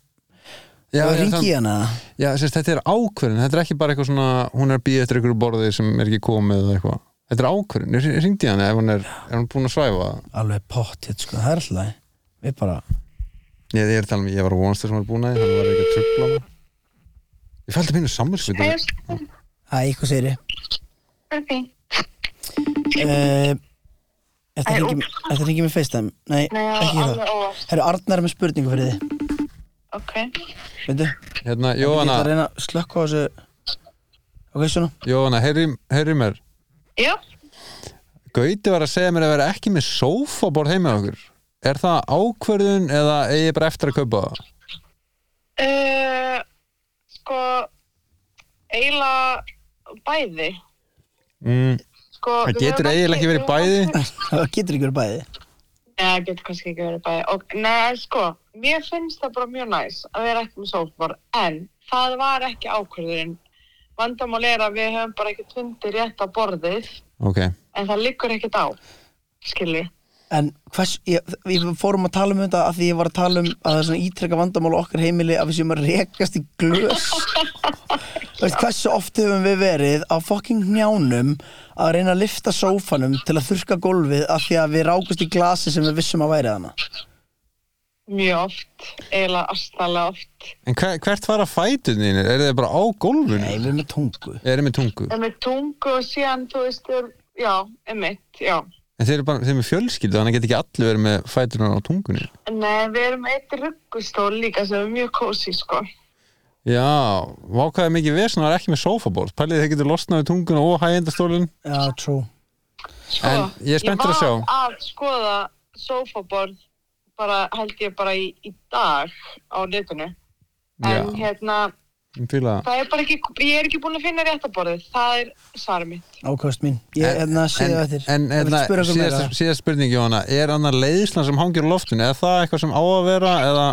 B: já,
A: Já,
B: ég-
A: ringi
B: það-
A: í hana
B: já sérst, þetta er ákvörðin, þetta er ekki bara eitthvað svona hún er að býja eftir einhverju borði sem er ekki komið eða eitthvað, þetta er ákvörðin, ég ringdi hann ef hún er, er hún búin að svæfa það
A: alveg pott hitt sko, það er alltaf lagi. við bara,
B: Ég, ég er að tala um, ég var að vonast þessum var búin að því, hann var ekki að trubla mig Ég fældi mínu samvinskutu
A: hæ, hvað segir ég
D: Ok,
A: uh,
D: Æ,
A: eftir
D: úps.
A: að ringi með FaceTime nei,
D: Nei, já,
A: ekki
D: alveg
A: það
D: óvart.
A: Herru, Arnar er með spurningu fyrir þið
D: ok.
A: veitu,
B: Hérna,
A: ég ætla að
B: Jóhanna,
A: reyna að slökka á þessu ok, svona
B: Jóhanna, heyri, heyri mér
D: Já,
B: Gauti var að segja mér að vera ekki með sófaborð heima hjá okkur Er það ákvörðun eða eigi ég bara eftir að kaupa það?
D: uh, sko, eiginlega bæði.
B: Mm,
D: Sko,
B: það
D: við
B: getur
D: höfum
B: eiginlega ekki verið bæði
A: það getur ekki verið bæði
D: Nei, það getur kannski ekki verið bæði. Og, nei, sko, mér finnst það bara mjög næs að vera ekki með sófbor, en það var ekki ákvörðurinn. Vandamál er að við höfum bara ekki fundið rétt á borðið,
B: Ok,
D: en það liggur ekkert á, skilji.
A: en hvers, ég, ég við fórum að tala um þetta af því ég var að tala um að það er svona ítrekka vandamál á okkar heimili að við séum að rekast í glös Þú veist, hversu oft höfum við verið á fucking njánum að reyna að lifta sófanum til að þurrka gólfið af því að við rákust í glasi sem við vissum að væri þarna
D: mjög oft, eiginlega astalega oft.
B: En hver, hvert fara fætuninu? Er þið bara á gólfinu?
A: Nei, við erum með tungu
B: Er þið með tungu?
D: En með tungu og síðan, þú veist, er, já, emitt, já.
B: En þeir eru bara, þeir eru með fjölskyldu, þannig að geta ekki allir verið með fætunar á tungunni.
D: Nei, eh, við erum með eitt ruggustól líka sem er mjög kósi, sko.
B: Já, vákaði mikið vesna er ekki með sofaborð. Pælið þeir getur losnað við tunguna og hægjendastólinn.
A: Já, true
D: sko
B: En ég er spenntur að sjá.
D: Ég var að skoða sofaborð bara, held ég bara í, í dag á netinu. En
B: Já.
D: hérna,
B: Ég fíla það.
D: það er bara ekki, ég er ekki búin að finna réttaborðið. Það er svarið mitt.
A: Ákvæmst mín, ég er hérna að segja þetta
B: En, en
A: vil spura
B: hérna,
A: okkur meira
B: síðast, síðast spurning Jóhanna, er annar leiðislan sem hangir á loftinu, er það eitthvað sem á að vera eða,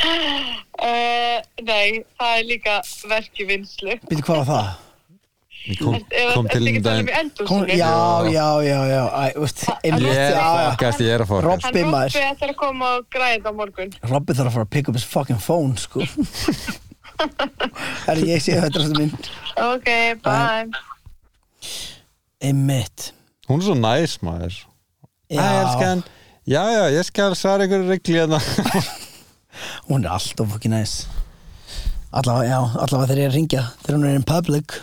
D: Uh, nei, það er líka verk í vinslu.
A: Býttu hvað var það?
B: Ég kom,
D: Eða-
B: kom til
D: ertu
B: um
D: ekki að tala
B: daginn
D: um í
A: Kom,
D: eldhúsinu?
A: já, já, já, já Æ, veist, einmitt,
B: Ég er
A: já,
B: að
A: já
B: fokast, ég er að fokast
D: Hann
A: Robbi maður.
D: Robbi ætlar að koma og græða þetta á morgun.
A: Robby þarf að fara að pick up his fucking phone, sko Herri, ég sé þetta sem minn
D: Ok, bye.
A: Einmitt
B: Hún er svo næs maður Æ,
A: Já.
B: elskan, já, já, ég skal svara ykkur regli hérna
A: Hún er alltaf fokkin næs Allavega, já, allavega þegar ég er að ringja Þegar hún er in public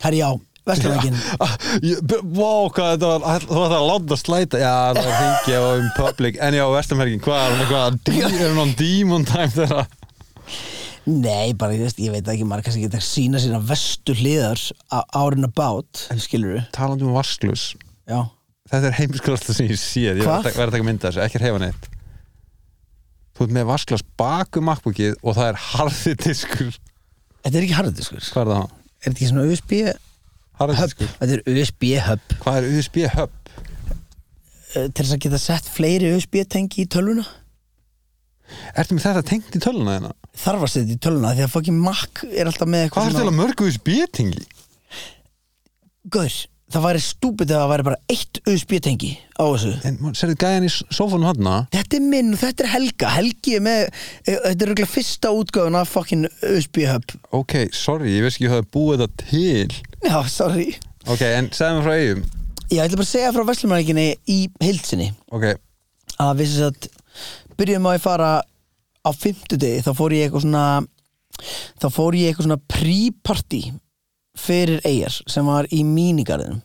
A: Herri, já, vesturlækin
B: Ah, ég- b- Vá, hvað þetta var Þú var það að láta slæta Já, það var hengja og um public En já, Vestamhergin, hvað er hún eitthvað dí- Er hún á demon time þeirra
A: Nei, bara, ég veist, ég veit ekki Maður kannski geta að sína sína vestu hliðar Árin about, skilur við
B: Talandi um vasklus
A: Já,
B: Þetta er heimskulasta sem ég séð Ég
A: Hvað?
B: verð að- verð að taka mynda þessu, ekki að hefa neitt Þú ert með vasklas baku makkbúkið og það er harði diskur
A: þetta er ekki harðdiskur
B: Hvað er það?
A: Er þetta ekki svona USB
B: Harði
A: hub?
B: diskur
A: Þetta er USB hub
B: Hvað er USB hub?
A: Eh, Til þess að geta sett fleiri USB tengi í tölvuna
B: Ertu með þetta tengt í töluna þeirna?
A: Þarf að setja í tölvuna Því að fokkin Mac er alltaf með eitthvað
B: Hvað er
A: svona-
B: þetta mörg USB-tengi?
A: Gaur, það væri stúpid að það væri bara eitt USB-tengi á þessu
B: En serðu gæjan í sófanum hann
A: Þetta er minn og þetta er Helga Helgi er með, e, þetta er röglega fyrsta útgáðun af fucking USB-hub
B: Ok, sorry, ég veist ekki hvað það búið þetta til
A: Já, sorry
B: Ok, en segðum frá eigum
A: Ég ætla bara að segja frá Veslumarreikinni í heilsinni
B: Ok,
A: að við sem sagt byrjum á að fara á fimmtudegi þá fór ég eitthvað svona þá fór ég eitthvað svona pre-party fyrir eigjar sem var í mínigarðinum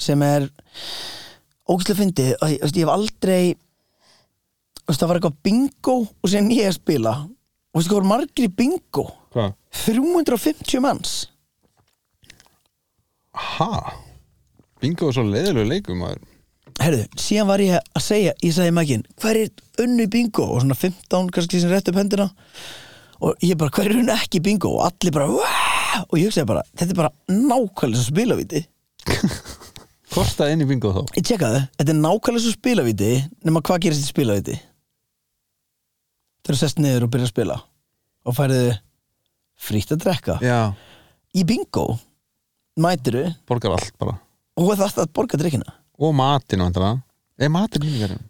A: sem er ógæslega fyndið og ég, veist, ég hef aldrei þú veist, það var eitthvað bingo og sem ég að spila og veistu hvað voru margir í bingo
B: hvað?
A: 350 manns
B: Ha? Bingo er svo leiðilegu leikum maður.
A: Herðu, síðan var ég að segja, ég sagði maginn, hver er unnu í bingo? Og svona 15 kannski sem rétt upp hendina og ég bara, hver er unnu ekki í bingo? Og allir bara, "Wow!" og ég hugsaði bara, þetta er bara nákvæmlega svo spilavíti.
B: Kostaði inn í bingo þá
A: Ég tjekkaði, þetta er nákvæmlega svo spilavíti, nema hvað gerist í spilavíti? Þegar þú sest niður og byrjar að spila og færðu frítt að drekka.
B: Já,
A: Í bingo mætiru
B: borgar allt bara
A: og það að borga drikkina.
B: Og matinn vandra Er matinn minningarinn?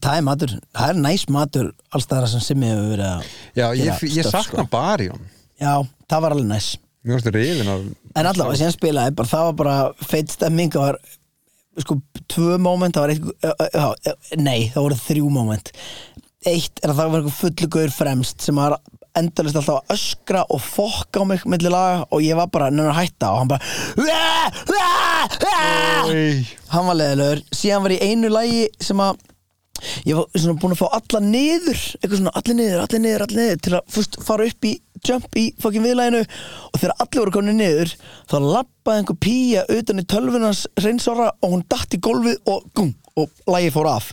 A: Það er matur, það er næs matur alls staðar sem Simmi hefur verið að
B: Já, ég,
A: gera
B: ég
A: stöff,
B: sakna
A: sko.
B: barjón
A: Já, það var alveg næs
B: Mér varstu reyðin á
A: En allavega, síðan spilaði bara, það var bara feitt stemming, það var sko tvö moment, það var eitt já, já, nei, það voru þrjú moment eitt er að það var eitthvað fullugur fremst sem var endalist alltaf að öskra og fokka á mig milli laga og ég var bara nennar að hætta og hann bara
B: Æ,
A: hann var leðilegur, síðan var ég í einu lagi sem að ég var svona búin að fá alla niður eitthvað svona allir niður, allir niður, allir niður til að fyrst fara upp í jump í fokkin viðlæginu og þegar allir voru komin niður þá lappaði einhver píja utan í tölvunans reynsora og hún datt í gólfið og gung og lagi fór af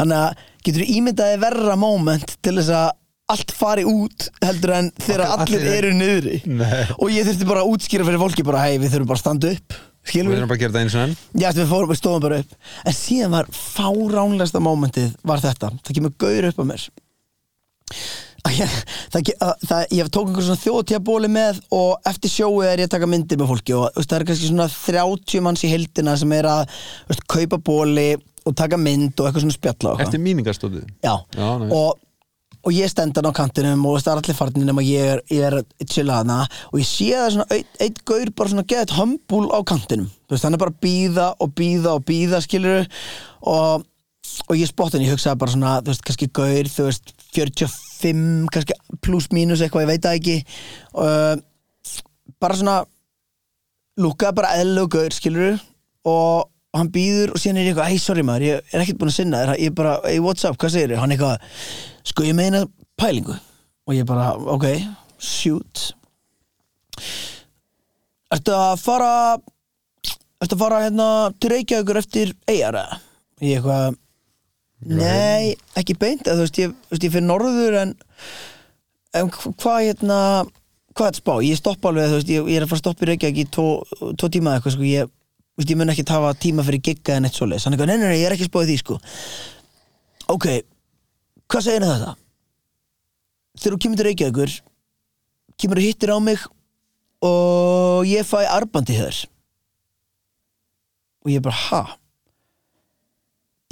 A: þannig að getur ímyndaði verra moment til þess að allt fari út heldur en þegar allir,
B: allir-
A: eru niðri
B: Nei.
A: og ég þurfti bara að útskýra fyrir fólki bara hei við þurfum bara að standa upp
B: Við
A: skilur
B: erum bara að gera þetta eins og enn
A: Já, eftir við fórum við stóðum bara upp En síðan var fáránlegasta mómentið var þetta Það kemur gaur upp á mér að ég, það, ge- að, það, ég tók einhver svona þjóðtíabóli með og eftir sjóu er ég að taka myndir með fólki og þú veist, það er kannski svona 30 manns í heildina sem er að þú veist, kaupa bóli og taka mynd og eitthvað svona spjalla og eitthvað.
B: Eftir míningarstótið
A: Já,
B: Já, nei.
A: og, og ég stendan á kantinum og það er allir farnir nema ég er, ég er chilla hana og ég sé það svona eitt, eitt gaur bara svona geðið hömbúl á kantinum þú veist, hann er bara að býða og býða og býða skilur og, og ég spotta hann, ég hugsaði bara svona þú veist, kannski gaur, þú veist, 45 kannski pluss mínus eitthvað, ég veit það ekki uh, bara svona lúkaði bara eðlug gaur, skilur og og hann býður og síðan er ég eitthvað, hei, sorry maður, ég er ekkert búin að sinna þér, ég er bara, hey, what's up, hvað segir þér? Hann eitthvað, sko, ég meina pælingu og ég bara, ok, shoot Ertu að fara Ertu að fara hérna til Reykjavíkur eftir eigara? Ég eitthvað, nei, ekki beint, eða þú veist, ég, þú veist, ég fyrir norður en en hv- hvað hérna hvað er þetta spá, ég stoppa alveg þú veist, ég, ég er að fara að stoppa í Reykjavík í tvo, tvo tíma eða eitthvað sko, ég, þú veist, ég mun ekki hafa tíma fyrir gigga en eitt svoleiðis, hann eitthvað, nei, nei, nei, ég er ekki að spáði því sko ok, hvað segir þetta þegar þú kemur til Reykjavíkur kemur og hittir á mig og ég fæ arbandi þér og ég bara, ha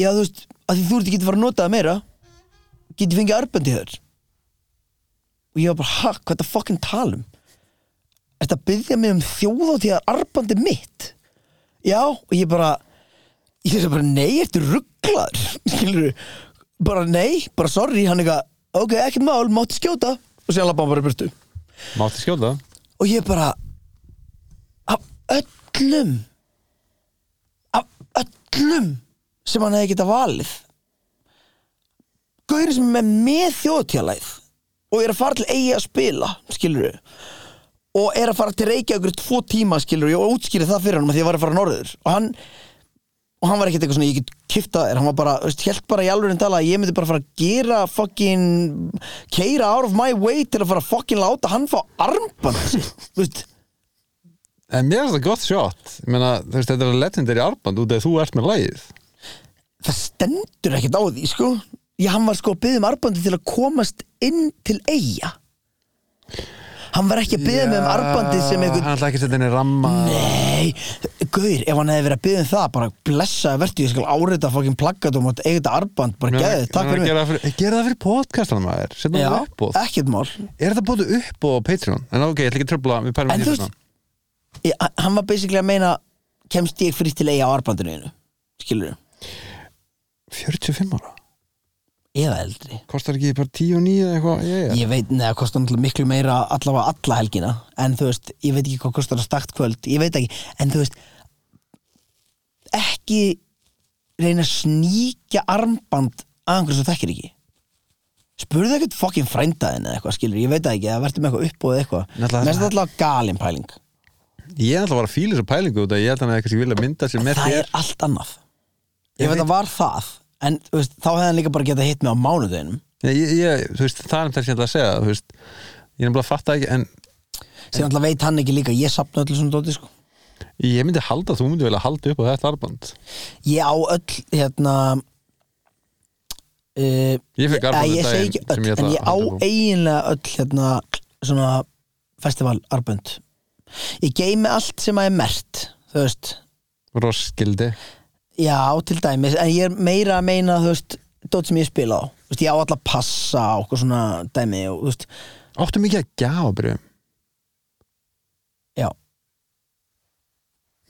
A: já, þú veist, að því þú ert ekki að fara að nota það meira get ég fengið arbandi þér og ég var bara, ha, hvað þetta fucking talum Þetta byggja mig um þjóð á því að arbandi mitt Já, og ég bara ég er bara, nei, ertu rugglaður skilur bara nei, bara sorry, hann eitthvað ok, ekkert mál, mátti skjóta og sér lappa hann bara í burtu
B: Mátti skjóta
A: og ég bara af öllum af öllum sem hann hefði geta valið gaurið sem er með, með þjóðtjálæð og er að fara til eigi að spila skilur og er að fara til Reykjavíkur í tvo tíma skilur og útskýri það fyrir hann því ég var að fara norður og hann og hann var ekkert eitthvað svona, ég get kifta þér hann var bara, veist, held bara í alveg en tala að ég myndi bara fara að gera fucking keira out of my way til að fara að fucking láta hann fá armband þú veist,
B: En mér er þetta gott shot Ég meina, þú veist, Þetta er legendary arband út af því að þú ert með lagið
A: það stendur ekkert á því sko, já hann var sko að byggja um armbandi til að komast inn til eiga hann var ekki að byggja mig um armbandi sem einhvern
B: einhvern Hann ætla ekki að setja henni ramma
A: Nei, Gaur, ef hann hefði verið að byggja um það bara blessaði vertu, ég skal árita fucking plakkat og mátt eiga þetta arband, bara geði, takk fyrir mig
B: Gera það fyrir, gera það fyrir podcastan maður Setna
A: Já,
B: það upp og
A: ekkert mál
B: Er þetta bóðu upp og Patreon? En ok, ég ætla ekki að tröfla Við pælum
A: En
B: ekki
A: þú
B: í
A: veist,
B: þetta.
A: ég, hann var basically að meina kemst ég fritt til eiga á arbandinu einu skilur
B: 45 ára
A: eða eldri
B: Kostar ekki bara 10 og 9 eða eitthvað yeah.
A: ég veit, neða, kostar náttúrulega miklu meira allavega alla helgina, en þú veist ég veit ekki hvað kostar að stakt kvöld, ég veit ekki en þú veist ekki reyna að sníkja armband að einhverjum sem þú þekkir ekki spurðu ekkert fokkin frændaðin eða eitthvað skilur, ég veit það ekki, eða verður með eitthvað uppbóð eða
B: Náttúrulega-
A: eitthvað, mest allavega galin pæling
B: Ég ætla að vara að fíla þessu pælingu út af Ég held hann að eitthvað sem vilja mynda sér með
A: það
B: þér
A: er allt annað ég,
B: Ég
A: veit
B: veit-
A: að var það en þú veist, þá hefði hann líka bara getað hitt mig á mánudeginum
B: Nei, ég, ég, þú veist, það er um þess að ég ætla að segja þú veist, ég er nefnilega að fatta ekki en
A: sem alltaf veit hann ekki líka, ég sapna öllu svona dóti sko.
B: ég myndi halda að þú myndi vel að halda upp á þetta arband
A: ég á öll hérna uh,
B: Ég fékk armband um
A: ég segi
B: daginn
A: ekki
B: sem
A: öll, en
B: ég ætla að
A: ég á
B: halda upp á.
A: eiginlega öll hérna svona festivalarbönd ég geymi allt sem að er mert þú veist,
B: Roskildi
A: já til dæmis en ég er meira að meina þú veist dót sem ég spila á, þú veist, ég á alla passa og eitthvað svona dæmi og þú veist
B: Áttu mikið að gjafa bröðum
A: Já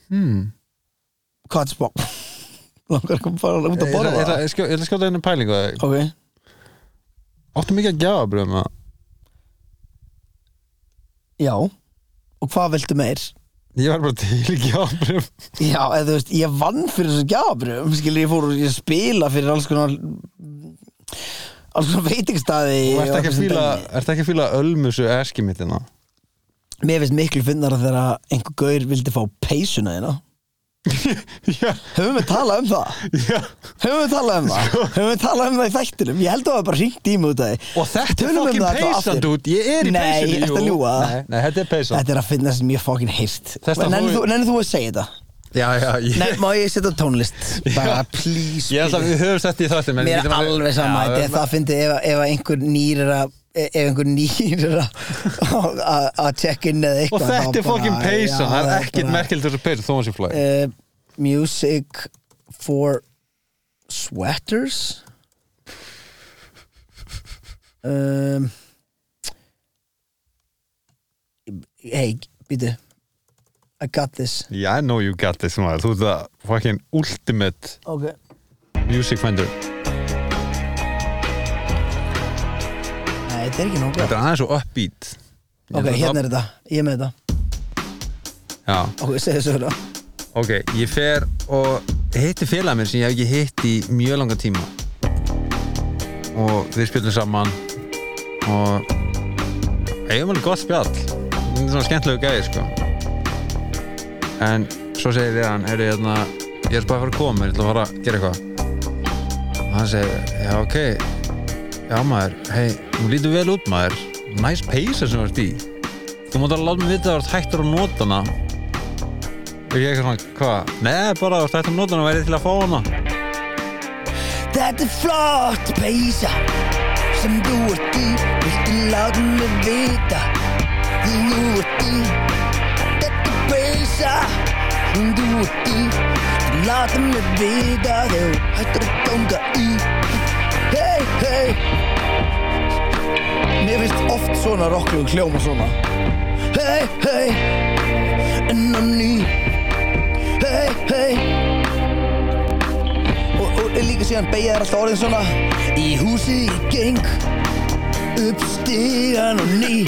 B: Hmm.
A: Hvað er spá? Langar ekki að fara út að
B: Ég
A: borða
B: ætla
A: það?
B: að skjóta einu pælingu að þig.
A: Ok
B: Áttu mikið að gjafa bröðum
A: Já Og hvað viltu meir?
B: Ég var bara til í gjafa bröðum
A: Já, eða þú veist, ég vann fyrir þessu gjafabrjöfum Skilur, ég fór og ég spila fyrir alls konar Alls konar veitingstaði
B: Þú
A: og
B: ert ekki að
A: þessu
B: fíla,
A: dæmi.
B: ert ekki að fíla ölmusu eski mitt hérna
A: Mér finnst miklu finnara þegar einhver gaur vildi fá peysuna þína
B: Já,
A: Höfum við talað um það?
B: já
A: Höfum við talað um
B: Sko.
A: það? Höfum við talað um það í þættinum? Ég held að það var bara hringt í mig út af því
B: Og þetta er
A: Tölum um
B: fokkin
A: það þá
B: peysan
A: aftur.
B: út Ég er í
A: Nei,
B: peysunni
A: ertu að
B: jú.
A: ljúga?
B: Nei, nei, þetta er peysan
A: Þetta er að finna sem ég fokkin heyrst
B: Þess að
A: Nenni
B: þú-
A: þú, nenni þú að segja þetta?
B: Já, já, ég
A: Nei, má ég setja tónlist? Bara
B: Já.
A: please
B: Ég ætla að
A: please.
B: við höfum sett í þáttum en
A: Mér
B: við
A: er
B: getum alveg-
A: alveg sama
B: Já,
A: Þetta er það að fyndi ef, ef að einhver nýr er að e- ef einhver nýr er að- að að check in eða
B: Og
A: eitthvað
B: þetta
A: þá
B: er fokkin
A: bara-
B: peysa,
A: já,
B: það
A: það
B: er ekkit
A: bara-
B: merkild þessu peysa þó hann sé flæg
A: uh, Music for Sweaters um, Hey, býtu I got this
B: Yeah, I know you got this maður, þú ert það fucking ultimate
A: okay.
B: music finder
A: Nei, þetta er ekki nóg
B: Þetta
A: gott
B: er aðeins og upbeat
A: Ok, hérna er þetta, ég er með þetta
B: Já,
A: Ok, segðu þessu hérna
B: ok, ég fer og hitti félag minn sem ég hef ekki hitt í mjög langa tíma og við spjöldum saman og eigum alveg gott spjall þetta er svona skemmtilegu gæði sko en svo segir ég hann heyrðu hérna, ég er bara að fara að koma ég ætla að fara að gera eitthvað og hann segir, já ok já maður, hei, þú lítur vel út maður næs peysa sem þú ert í þú mátt að láta mig vita að þú ert hættur að nota hana og ég eitthvað svona, hvað? Nei, bara þú ert hættur að nota hana, væri til að fá hana
A: Þetta er flott peysa sem þú ert í Viltu láta mig vita því þú ert í Þetta er peysa sem þú ert í Viltu láta mig vita þegar þú hættir að ganga í Hey, hey Mér finnst oft svona rocklugu hljóma svona Hey, hey En á ný Hey, hey og, og líka síðan beigja þær alltaf orðin svona Í húsi í geng Upp stigan og ný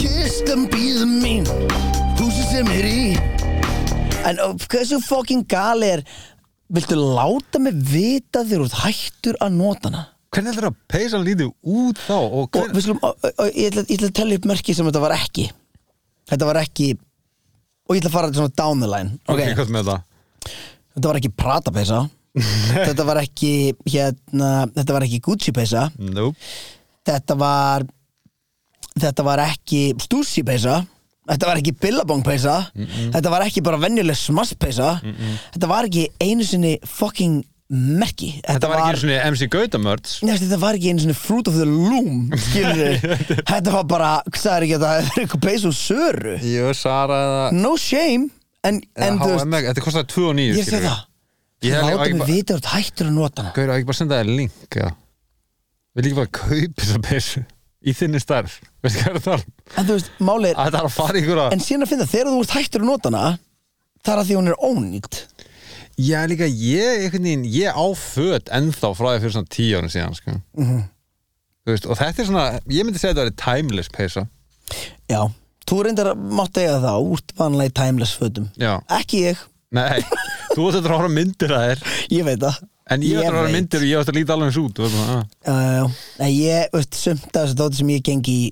A: Kistan býður mín Húsi sem er í En ó, hversu fucking gali er Viltu láta mig vita þegar þú ert hættur að nota hana?
B: Hvernig heldur að peysan lítið út þá? Og
A: Og
B: hver...
A: við skulum, og, og, og, ég, ætla, ég ætla að tella upp merki sem þetta var ekki Þetta var ekki Og ég ætla að fara svona down the line
B: ok, hvað með það?
A: Þetta var ekki Prada peysa Þetta var ekki hérna, Þetta var ekki Gucci peysa
B: Nope.
A: Þetta var Þetta var ekki Stussy peysa Þetta var ekki Billabong peysa Þetta var ekki bara venjuleg smass peysa Þetta var ekki einu sinni fucking merki Þetta,
B: Þetta var ekki einu sinni MC Gautamörds
A: Nei, þetta var ekki einu svona Fruit of the Loom skilur þetta var bara, hvað er ekki að það hefur verið eitthvað peysa úr söru
B: Jú, Sara eða,
A: no shame en, en
B: eða
A: þú veist,
B: H&M Þetta kostaði 2 og 9
A: ég segi það
B: Ég hef
A: láta
B: ekki
A: mig
B: bara,
A: vita að þú ert hættur að nota hana
B: Gaur, á ekki bara að senda þér link eða? Við líka bara að kaupa þessa peysu Í þinni starf Veistu hvað er það?
A: en þú veist, málið er
B: Að þetta er að fara ykkur að
A: en síðan að finna þegar þú ert hættur að nota hana það er að því hún er ónýtt
B: Já, líka ég, einhvern veginn, ég á föt ennþá frá því fyrir svona 10 árum síðan sko. Þú veist, Og þetta er svona Ég myndi segja að þetta er timeless peysa
A: já, þú reyndar að mátt eiga það úrt vanlega í timeless fötum
B: Já.
A: ekki ég,
B: Nei, þú átt eftir að horfa á myndir að þér
A: ég veit það
B: En ég átt eftir að horfa á
A: veit.
B: myndir og ég átt eftir að líta alveg eins út Þú veist bara, ah.
A: Já, já, já. Nei, ég, veist, sumt af þessu dóti sem ég gengi í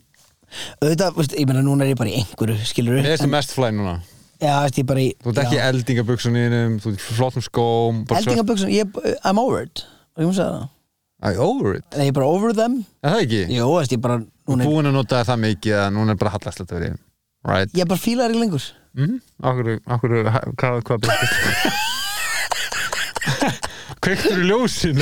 A: auðvitað, veist, ég meina núna er ég bara í einhverju skilur
B: Mér
A: já,
B: erstu mest flæn núna
A: veist, ég bara í
B: Þú ert ekki í
A: já.
B: eldingabuksuninum, þú ert í flottum skóm bara svört-
A: eldingabuxum, ég, I'm over it og ég múið segja það,
B: Æ, over it,
A: Nei, ég er bara over them
B: er það ekki?
A: Jó, veist, ég bara,
B: Þú er
A: núna er,
B: búin að nota það mikið að núna er bara hallast þetta verið Right?
A: ég bara fílar í lengur
B: Mhm. Akkur, akkur, hvað, hvað byrjast? Kveiktur í ljósin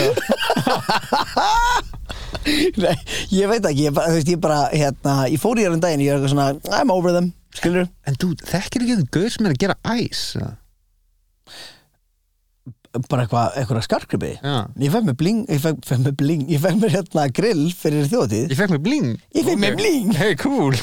A: Nei, ég veit ekki, ég bara, þú veist, ég bara hérna, ég fór í þér um daginn, ég er eitthvað svona I'm over them, skilur
B: En þú, þekkir ekki þú gauð sem er að gera æs eða?
A: bara eitthvað, eitthvað skarkribi
B: Já.
A: ég fekk mér bling, ég fekk, fekk mér bling ég fekk mér hérna grill fyrir þjóðtíð
B: Ég fekk mér bling
A: Ég fékk mér
B: Ok.
A: bling.
B: Hey, cool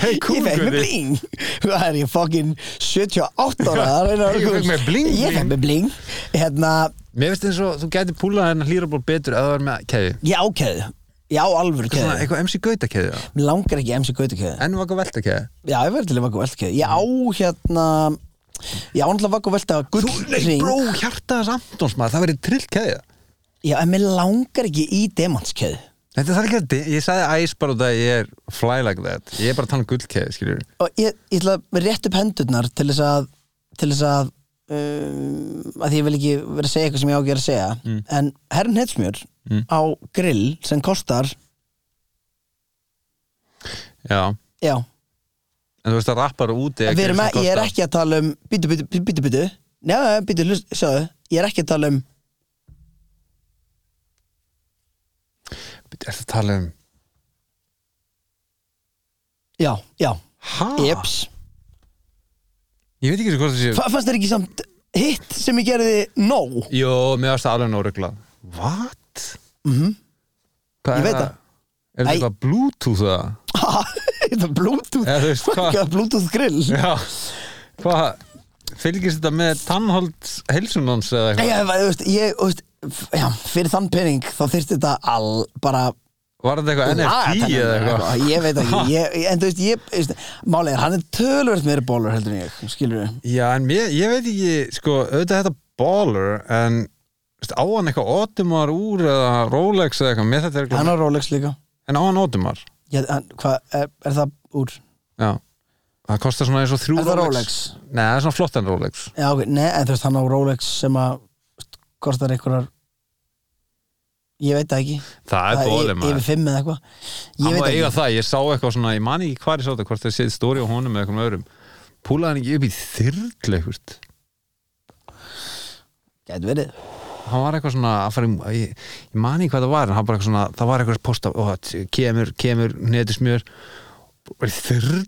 B: Hey, cool
A: ég fekk mér
B: Guði.
A: bling það er ég fokkin 78 ára að reyna að-
B: Ég fekk mér bling,
A: ég fekk
B: bling.
A: mér bling hérna,
B: Mér finnst eins og þú gæti púlað hennar hlýraból betur að það var með keðju
A: ég ákæði ég á alvöru
B: Svona
A: kæði,
B: eitthvað MC Gauta keðju
A: mér langar ekki MC Gauta kæði
B: Enn vaka velta keðju
A: já, ég verður til að vaka velta kæði ég á hérna ég á náttúrulega vaka velta gullring
B: Bró, hjartaðas Antons maður, það verið trillt keðja
A: já, en mér langar ekki í demantskæði
B: Þetta þarf ekki að, de- ég sagði æs bara út af að ég er fly like that Ég er bara að tala um gullkeðju, skiljur
A: og ég, ég ætla að rétt upp hendurnar til þess að til þess að um, að því ég vil ekki vera að segja eitthvað sem ég á ekki að vera að segja en herrn hetsmjör á grill sem kostar
B: Já, en
A: já,
B: þú veist að rappar úti
A: við erum að, ég er ekki að tala um bítu, bítu, bítu, bítu, bítu já, bítu, sjáðu, ég er ekki að tala um
B: Ertu að tala um
A: já, já,
B: Hæ?
A: jeps
B: Ég veit ekki hvort það sé
A: Fa- fannst þér ekki samt hitt sem ég gerði nóg
B: Jó, mér varst það alveg nóruglað What? Mm
A: Mhm. Ég
B: -hmm.
A: veit
B: það
A: það.
B: Er þetta
A: Æ.
B: eitthvað Bluetooth það?
A: Ha, þetta er Bluetooth
B: Eða, þú veist, Eh, hvað? Eh.
A: Fucking Bluetooth grill
B: Já Hvað? Fylgist þetta með tannhold heilsunans eða
A: Nei,
B: eitthvað?
A: ég, þú veist, ég, þú veist, f- já, fyrir þann pening þá þyrfti þetta all bara
B: Var þetta eitthvað
A: laga
B: NFT eða
A: tennurnar
B: eitthvað?
A: ég veit ekki, ég, ég- en þú veist, ég, þú veist málið er, hann er tölvöld meira bólur heldur en ég, skilur við
B: Já, en mér, ég veit ekki, sko, auðvitað er þetta baller en veist, á hann eitthvað Otumar úr eða Rolex eða eitthvað, mér þetta er
A: hann
B: eitthvað
A: á Rolex líka
B: En á hann Otumar?
A: ég, hann, hva, er, er það úr,
B: Já Það kostar svona eins og þrjú
A: er það
B: Rolex
A: Rolex
B: Nei, það er svona flottan Rolex
A: já, ok, nei, en þú veist, hann á Rolex sem að þú veist, kostar einhverjar ég veit það ekki
B: Það er
A: Það
B: bólið
A: er
B: maður
A: yfir fimm eða eitthvað ég
B: Hann
A: veit
B: var að eiga
A: ekki,
B: það, ég sá eitthvað svona, ég man ekki hvað ég sá þetta Hvort það séð stóri á honum eða eitthvað öðrum Púlaði hann ekki upp í þyrl eitthvað
A: gæti verið
B: Hann var eitthvað svona að fara í Ég, ég man ekki hvað það var, en hann bara eitthvað svona Það var eitthvað posta, ó, t- kemur, kemur, netismjör Bara í þyrl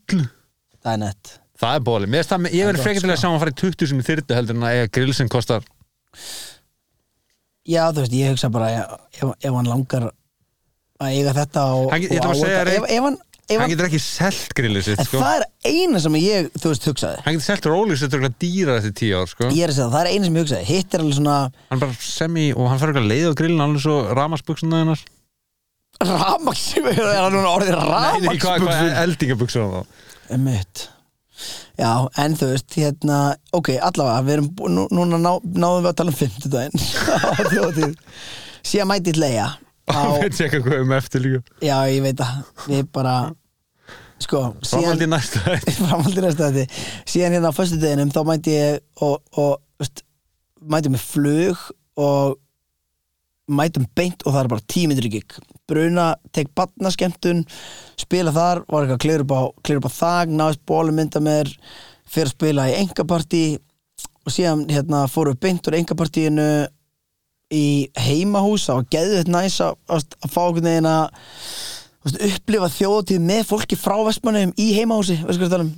A: það er nett
B: Það er bólið, Mér finnst það- ég verið
A: gott,
B: frekar til að
A: sko.
B: sjá hann fara í 20 sem í þyrlu heldur en að eiga grill sem kostar
A: Já, þú veist, ég hugsa bara ef, ef hann langar að eiga þetta og,
B: Hann get- ég ætla
A: og
B: bara
A: á
B: að segja
A: þetta-
B: þér
A: ef, ef hann, ef
B: Hann
A: hann,
B: getur ekki selt grillið sitt
A: en
B: sko.
A: það er eina sem ég, þú veist, hugsaði
B: Hann getur selt Rolex þetta er eitthvað dýrar eftir 10 ár sko.
A: ég er að segja, það það er eina sem ég hugsaði, hitt er alveg svona
B: hann bara semi og hann fer eitthvað leið á grillin alveg svo ramarsbuksuna hennar
A: ramaks, er hann núna orðið ramaksbuksum
B: eldingabuksuna þá
A: Emmitt Já, en þú veist, hérna, ok, allavega, við erum, bú- nú, núna ná, náðum við að tala um fimmtudaginn á þjóðtíð síðan mætið leia
B: hann
A: á,
B: veit ekki eitthvað um eftir líka
A: já, ég veit að, við bara, sko, síðan
B: framhaldi næsta þætti.
A: framhaldi næsta þetta síðan hérna á föstudeginum þá mæti ég og, og veist, mæti með flug og mætum beint og það er bara tímyndur í gig bruna, tek batnaskemtun spila þar, var eitthvað klirur upp á, klirur upp á þag, náðist bólumynda mér fyrir að spila í engapartí og síðan hérna fórum við beint úr engapartíinu í heimahús, það var geðveitt næs að, að, að fá okkur neðina þú veist, upplifa þjóðatíð með fólki frá vestmannum í heimahúsi veistu hvað ég er að tala um?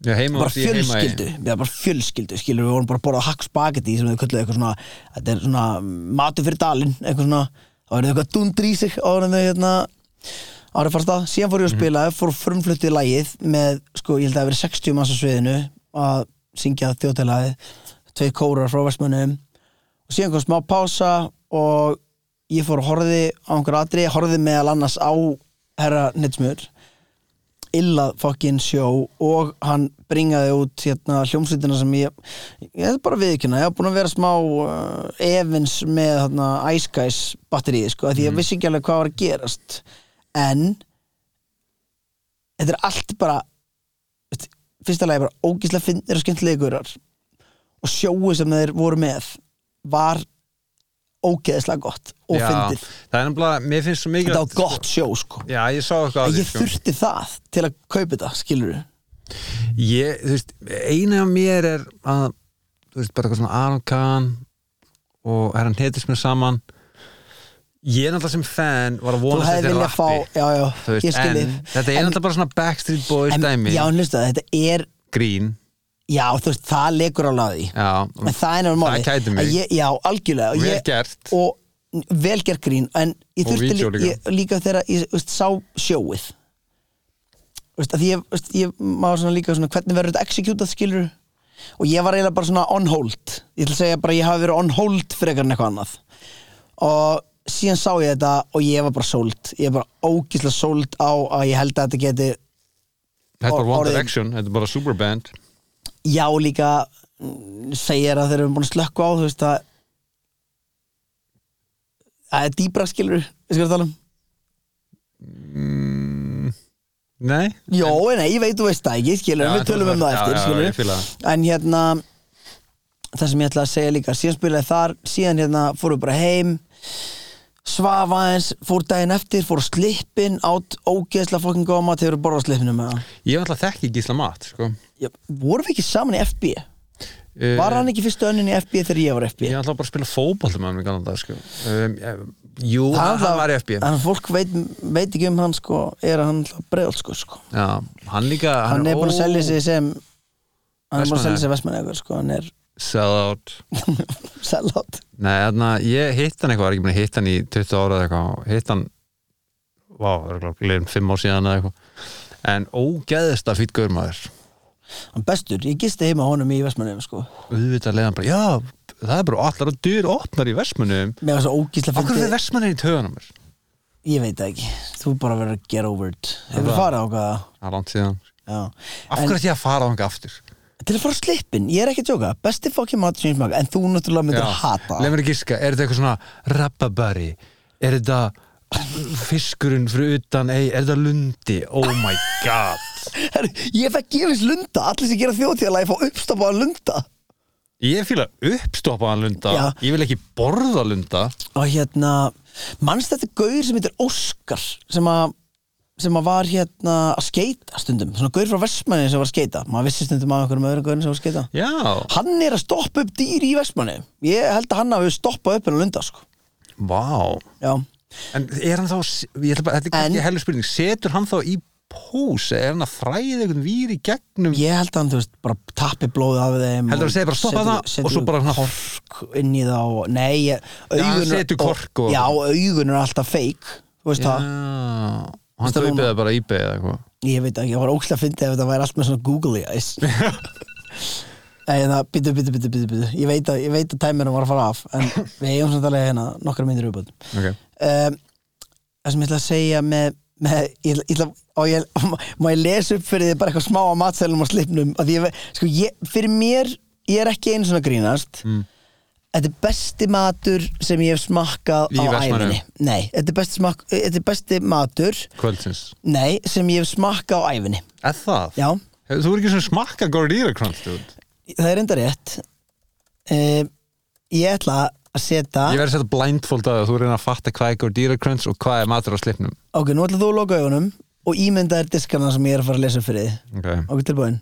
B: já, heima
A: bara
B: og síðan heima í-
A: fjölskyldu, já, bara fjölskyldu skilur, við vorum bara að borða hakk spagetti sem við kölluðu eitthvað svona, þetta er svona matur fyrir dalinn, eitthvað svona þá er eitthvað dundri í sig áður en þau hérna árið fara af stað, síðan
B: Mhm.
A: fór ég að spila fór frumfluttið lagið með sko, ég held að það hafi verið 60 manns á sviðinu að syngja þjóðtælagið tvei kórar frá vestmannum og síðan kom smá pása og ég fór að horfi á einhver atri horfi meðal annars á herra Netsmjör illa fokkin sjó og hann bringaði út hérna hljómsveitina sem ég ég er bara viðkynna, ég hef búin að vera smá uh, evins með hérna, Ice Guys batterið sko, af
B: Mhm.
A: því ég vissi ekki alveg hvað var að gerast en þetta er allt bara veist, fyrsta lagi bara ógíslega finnir og skemmtilega gurar og sjóið sem þeir voru með var ógeðislega gott og
B: Já,
A: fyndið
B: það er nefnilega, mér finnst svo mikið
A: þetta var gott sjó sko
B: já, ég sá eitthvað af
A: en
B: því, sko.
A: ég þurfti það til að kaupa þetta skilur
B: ég, þú veist, eina af mér er að, þú veist, bara eitthvað svona Aron Kahn og herran heitist mér saman ég er náttúrulega sem fan var að
A: þú
B: vonast
A: hefði
B: eftir
A: viljað fá
B: rappi.
A: já, já,
B: Þú veist,
A: ég skil
B: en
A: þig.
B: þetta er
A: En-
B: náttúrulega bara svona Backstreet Boys
A: en-
B: dæmi
A: já, en hlusta, þetta er
B: grín
A: já, þú veist, það leikur á laði
B: já,
A: en það er náttúrulega máli
B: kætir Mm. mig.
A: Að ég, já, algjörlega og
B: vel
A: ég-
B: gert
A: og velgerð grín en ég
B: Og
A: þurfti
B: vídeó
A: líka,
B: líka.
A: ég, líka þegar ég þú veist, sá sjóið Þú veist, að því ég, þú veist, ég maður svona líka svona, hvernig verður þetta executað skilur og ég var eiginlega bara svona on hold ég ætla að segja bara að ég hafi verið on hold frekar en eitthvað annað og síðan sá ég þetta og ég var bara sold ég er bara ógislega sold á að ég held að þetta geti
B: þetta er bara One
A: orðin-
B: Direction, þetta er bara Superband
A: já líka mm, segir að þeir eru búin að slökku á þú veist að það er dýbra skilur við skilur að tala um
B: nei,
A: Jó, en nei, ég veit, þú veist það ekki, skilur,
B: Já,
A: við
B: en þú
A: tölum um
B: veist
A: það
B: það-
A: eftir,
B: já, já,
A: skilur
B: ég fíla
A: En hérna, það sem ég ætla að segja líka, síðan spilaði þar, síðan hérna fórum við bara heim, svafa eins, fór daginn eftir, fór á slippin, átt ógeðslega fokkin góða mat, hefur borðað á slippinu með það.
B: ég er alltaf þekki Gísla Matt sko.
A: Vorum við ekki saman í FB?
B: Jú, Eh,
A: Var hann ekki fyrstu önnin í FB þegar ég var í FB?
B: Ég ætla bara að spila fótballtum með mér kannan dag sko. um, ég, Jú,
A: Það
B: hann,
A: náttúrulega-
B: hann var í FB
A: En fólk veit, veit ekki um hann sko er að hann bregðalt sko, sko
B: Já, hann líka
A: Hann er búin að selja sig sem Hann er búin að selja
B: Vestmannaeyjar.
A: sig vestmanni sko Hann er
B: Sell out
A: sellátt
B: Nei, þarna, ég hitt hann eitthvað, var ekki búin að hitt hann í 20 ára eða eitthvað, og hitt hann Vá, það er glæðin 5 ár síðan eða eitthvað En ógeðista fýtt gaur maður
A: Hann bestur, ég gisti heima á honum í vestmanni sko
B: Auðvitað leiðan bara, já, það er bara allar að dyr opnar í versmunum
A: Mér var svo ógísla
B: Akkur er
A: fyndi
B: versmunum í töðanum mér?
A: Ég veit það ekki, þú bara verður að get over it Hefur
B: var-
A: farið á hvaða
B: Það er langt síðan
A: Já.
B: Af hverju ætti ég að fara þangað aftur?
A: Til að fara á slippin, ég er ekki að tjóka Besti fokkin matur sem ég smaka En þú náttúrulega myndir að hata
B: Leif mér að gíska, er þetta eitthvað svona rababari? Er þetta fiskurinn fyrir utan ei, er þetta lundi? Oh my god
A: Herru, Ég fekk gefins lunda Allir sem gera þjóðtíðalagi fá uppstoppaðan lunda
B: Ég fýla uppstoppaðan lunda
A: Já.
B: Ég vil ekki borða lunda
A: og hérna mannst þetta gaur sem heitir Óskar sem að sem að var hérna að skeita stundum svona gaur frá Vestmanni sem var að skeita maður vissi stundum að einhverjum öðrum gaurin sem var að skeita
B: Já
A: hann er að stoppa upp dýr í Vestmanni ég held að hann hafi stoppað upp en að lunda sko
B: Vá
A: já
B: En er hann þá, ég ætla bara, þetta er
A: En-
B: kannski hellu spurning Setur hann þá í pós? Er hann að fræða einhvern vír í gegnum?
A: ég held að hann þú veist bara tappi blóðið af þeim
B: Heldurðu
A: og
B: að segja bara, "Stoppa
A: setur-
B: þarna,"
A: setur
B: og svo bara svona-
A: kork inn í þá og- nei ég-
B: hann
A: augun
B: setur kork og-
A: já augun er alltaf feik þú veist
B: Já
A: það
B: Og hann
A: Veistu núna?
B: kaupið það bara íbæði eða eitthvað
A: Ég veit ekki, ég var ókslega fyndið ef þetta væri allt með svona googly eyes Nei, hérna, það, býtu, býtu, býtu, býtu, býtu Ég veit að, ég veit að tæmurinn var að fara af En við eigum samt alveg hérna nokkra myndir uppbútt
B: okay.
A: um, Það sem ég ætla að segja með, með ég, ætla- ég ætla, og ég, Má ég lesa upp fyrir þið bara eitthvað smá á matselum og slipnum Af Því ég, ve- sko, ég, fyrir mér, ég er ekki einu svona grínast
B: Mm.
A: Þetta er besti matur sem ég hef smakkað á
B: Í Vestmannaeyjum?
A: æfinni Nei, þetta er besti, smak, eh, þetta er besti matur
B: Kvöldsins
A: Nei, sem ég hef smakkað á æfinni
B: Er það?
A: Já,
B: Hefur- Þú er ekki svona smakka Gordýra krans Ég
A: það er enda rétt uh, ég ætla að setja
B: verði að setja blindfold að það Þú reyna að fatta hvað er Gordýra krans og hvað er matur á slipnum
A: ok, nú ætla þú að loka augunum og ímynda þér diskana sem ég er að fara að lesa upp fyrir þið
B: okay.
A: ok, tilbúin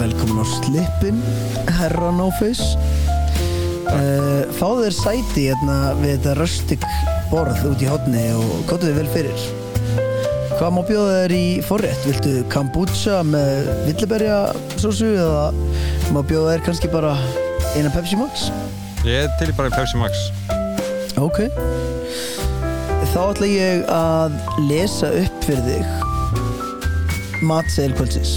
A: velkomin á slipin herra nófis uh, fáðu þér sæti hérna við þetta röstig borð út í hotni og kóttu þið vel fyrir Hvað má bjóða þér í forrétt? Viltu kombucha með villiberja sósu eða má bjóða þér kannski bara eina Pepsi Max?
B: Ég er til í bara í Pepsi Max
A: Ok Þá ætla ég að lesa upp fyrir þig matseðil kvöldsins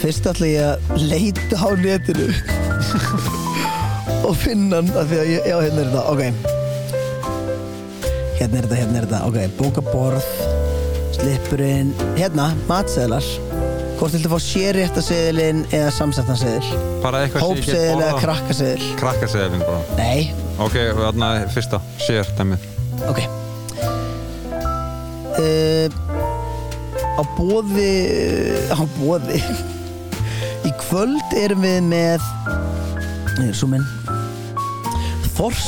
A: Fyrst ætla ég að leita á netinu og finna hann af því að ég, já, hérna er þetta, ok Hérna er þetta, hérna er þetta, ok bókaborð, slippurinn hérna, matseðlar Hvort viltu fá sér rétt að seðilinn eða samsettan seðil
B: Bara eitthvað sem ég get
A: Hópseðil eða
B: borðað.
A: krakkaseðil
B: Krakkaseðilinn bara
A: Nei,
B: Ok, þarna er fyrsta, sér dæmið
A: Ok uh, Á bóði Á bóði Í kvöld erum við með eh, Nei, svo minn Þors,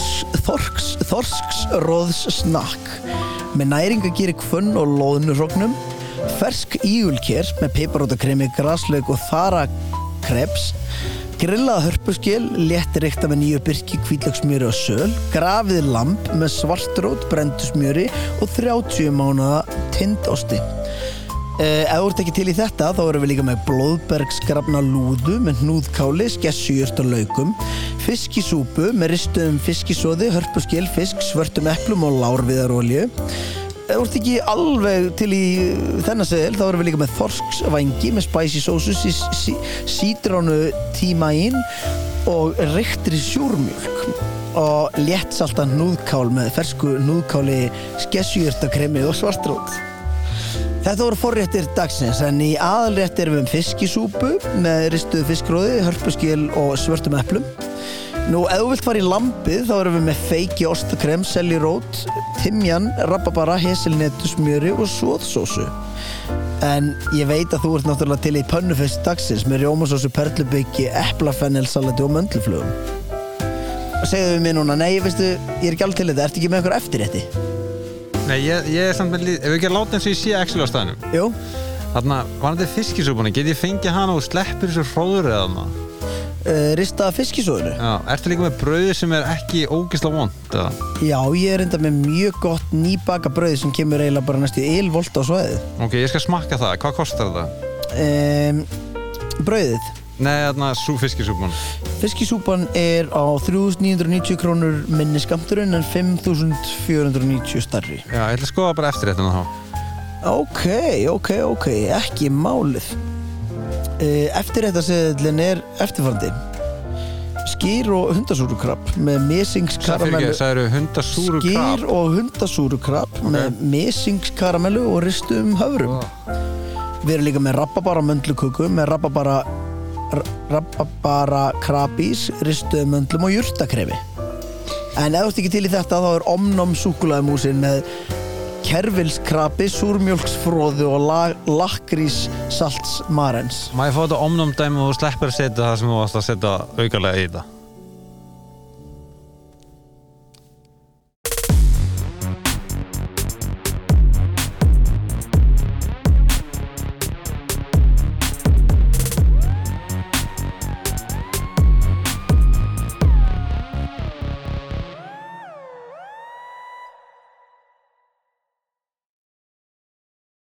A: Þorks Þorsksróðs snakk með næringagýri kvönn og loðnurrognum fersk ígulkér með piparótakremi, graslaug og þarakreps grillað hörpuskil, létt reykta með nýju birki, hvítlöksmjöri og söl grafið lamp með svartrót brendusmjöri og 30 mánada tindosti Eh, Ef þú ert ekki til í þetta þá erum við líka með blóðbergsgrafna lúðu með hnúðkáli, skessujurt og laukum fiskisúpu með ristuðum fiskisóði, hörpuskil, fisk, svörtum eplum og lárviðarolju Ef þú ert ekki alveg til í eh, þennan seðil þá erum við líka með þorsksvængi með spicy sósu, sí- sí- sítrónu tímain og reyktri sjúrmjölk og léttsaltan hnúðkál með fersku hnúðkáli, skessujurtakremi og svartrót Þetta voru forréttir dagsins en í aðalrétt erum við um fiskisúpu með ristuðu fiskróði, hörpuskil og svörtum eplum. Nú, ef þú vilt fara í lambið þá erum við með feiki, ostakrem, seljurót, timjan, rababara, hesilnetu, smjöri og svoðsósu. En ég veit að þú ert náttúrulega til í pönnufisk dagsins með rjómasósu, perlubyggi, eplafennelsalati og möndluflugum. Og segðu við mér núna, nei, veistu, ég er ekki alveg til í þetta, ertu ekki með einhver eftirrétti?
B: Nei, ég, ég er samt með líð Ef við ekki að láta eins og ég sé ekki á staðnum
A: Jú?
B: Þarna, var þetta fiskisúbuna, get ég fengið hana og sleppur þessu hróður eða hana?
A: uh, Rista fiskisóðinu
B: Já, ertu líka með brauði sem er ekki ógisla vond? eða?
A: Já, ég er enda með mjög gott nýbaka brauð sem kemur eiginlega bara næstu ylvolt á svæðið
B: Ok, ég skal smakka það, hvað kostar það?
A: um, Brauðið
B: Nei, þarna, sú fiskisúbuna
A: Fiskisúpan er á 3.990 krónur minni skamturinn en 5.490 starri
B: Já, ég ætla að skoða bara eftir þetta þá
A: Ok, ok, ok, ekki málið Eh, Eftir þetta seðlinn er eftirfandi Skýr og hundasúrukrabb með misingskaramellu
B: Það eru hundasúru
A: Skýr
B: krab
A: og hundasúrukrabb með misingskaramellu og ristum höfrum Við erum líka með rababara möndluköku með rababara rababara krabís ristum möndlum og jurtakrefi En ef þú ert ekki til í þetta þá er omnum súkulaðmúsin með kerfilskrabi, súrmjólksfróðu og la lakrís salts marens
B: Má ég fá þetta omnum dæmi og þú sleppur að setja það sem þú varst að setja aukarlega í þetta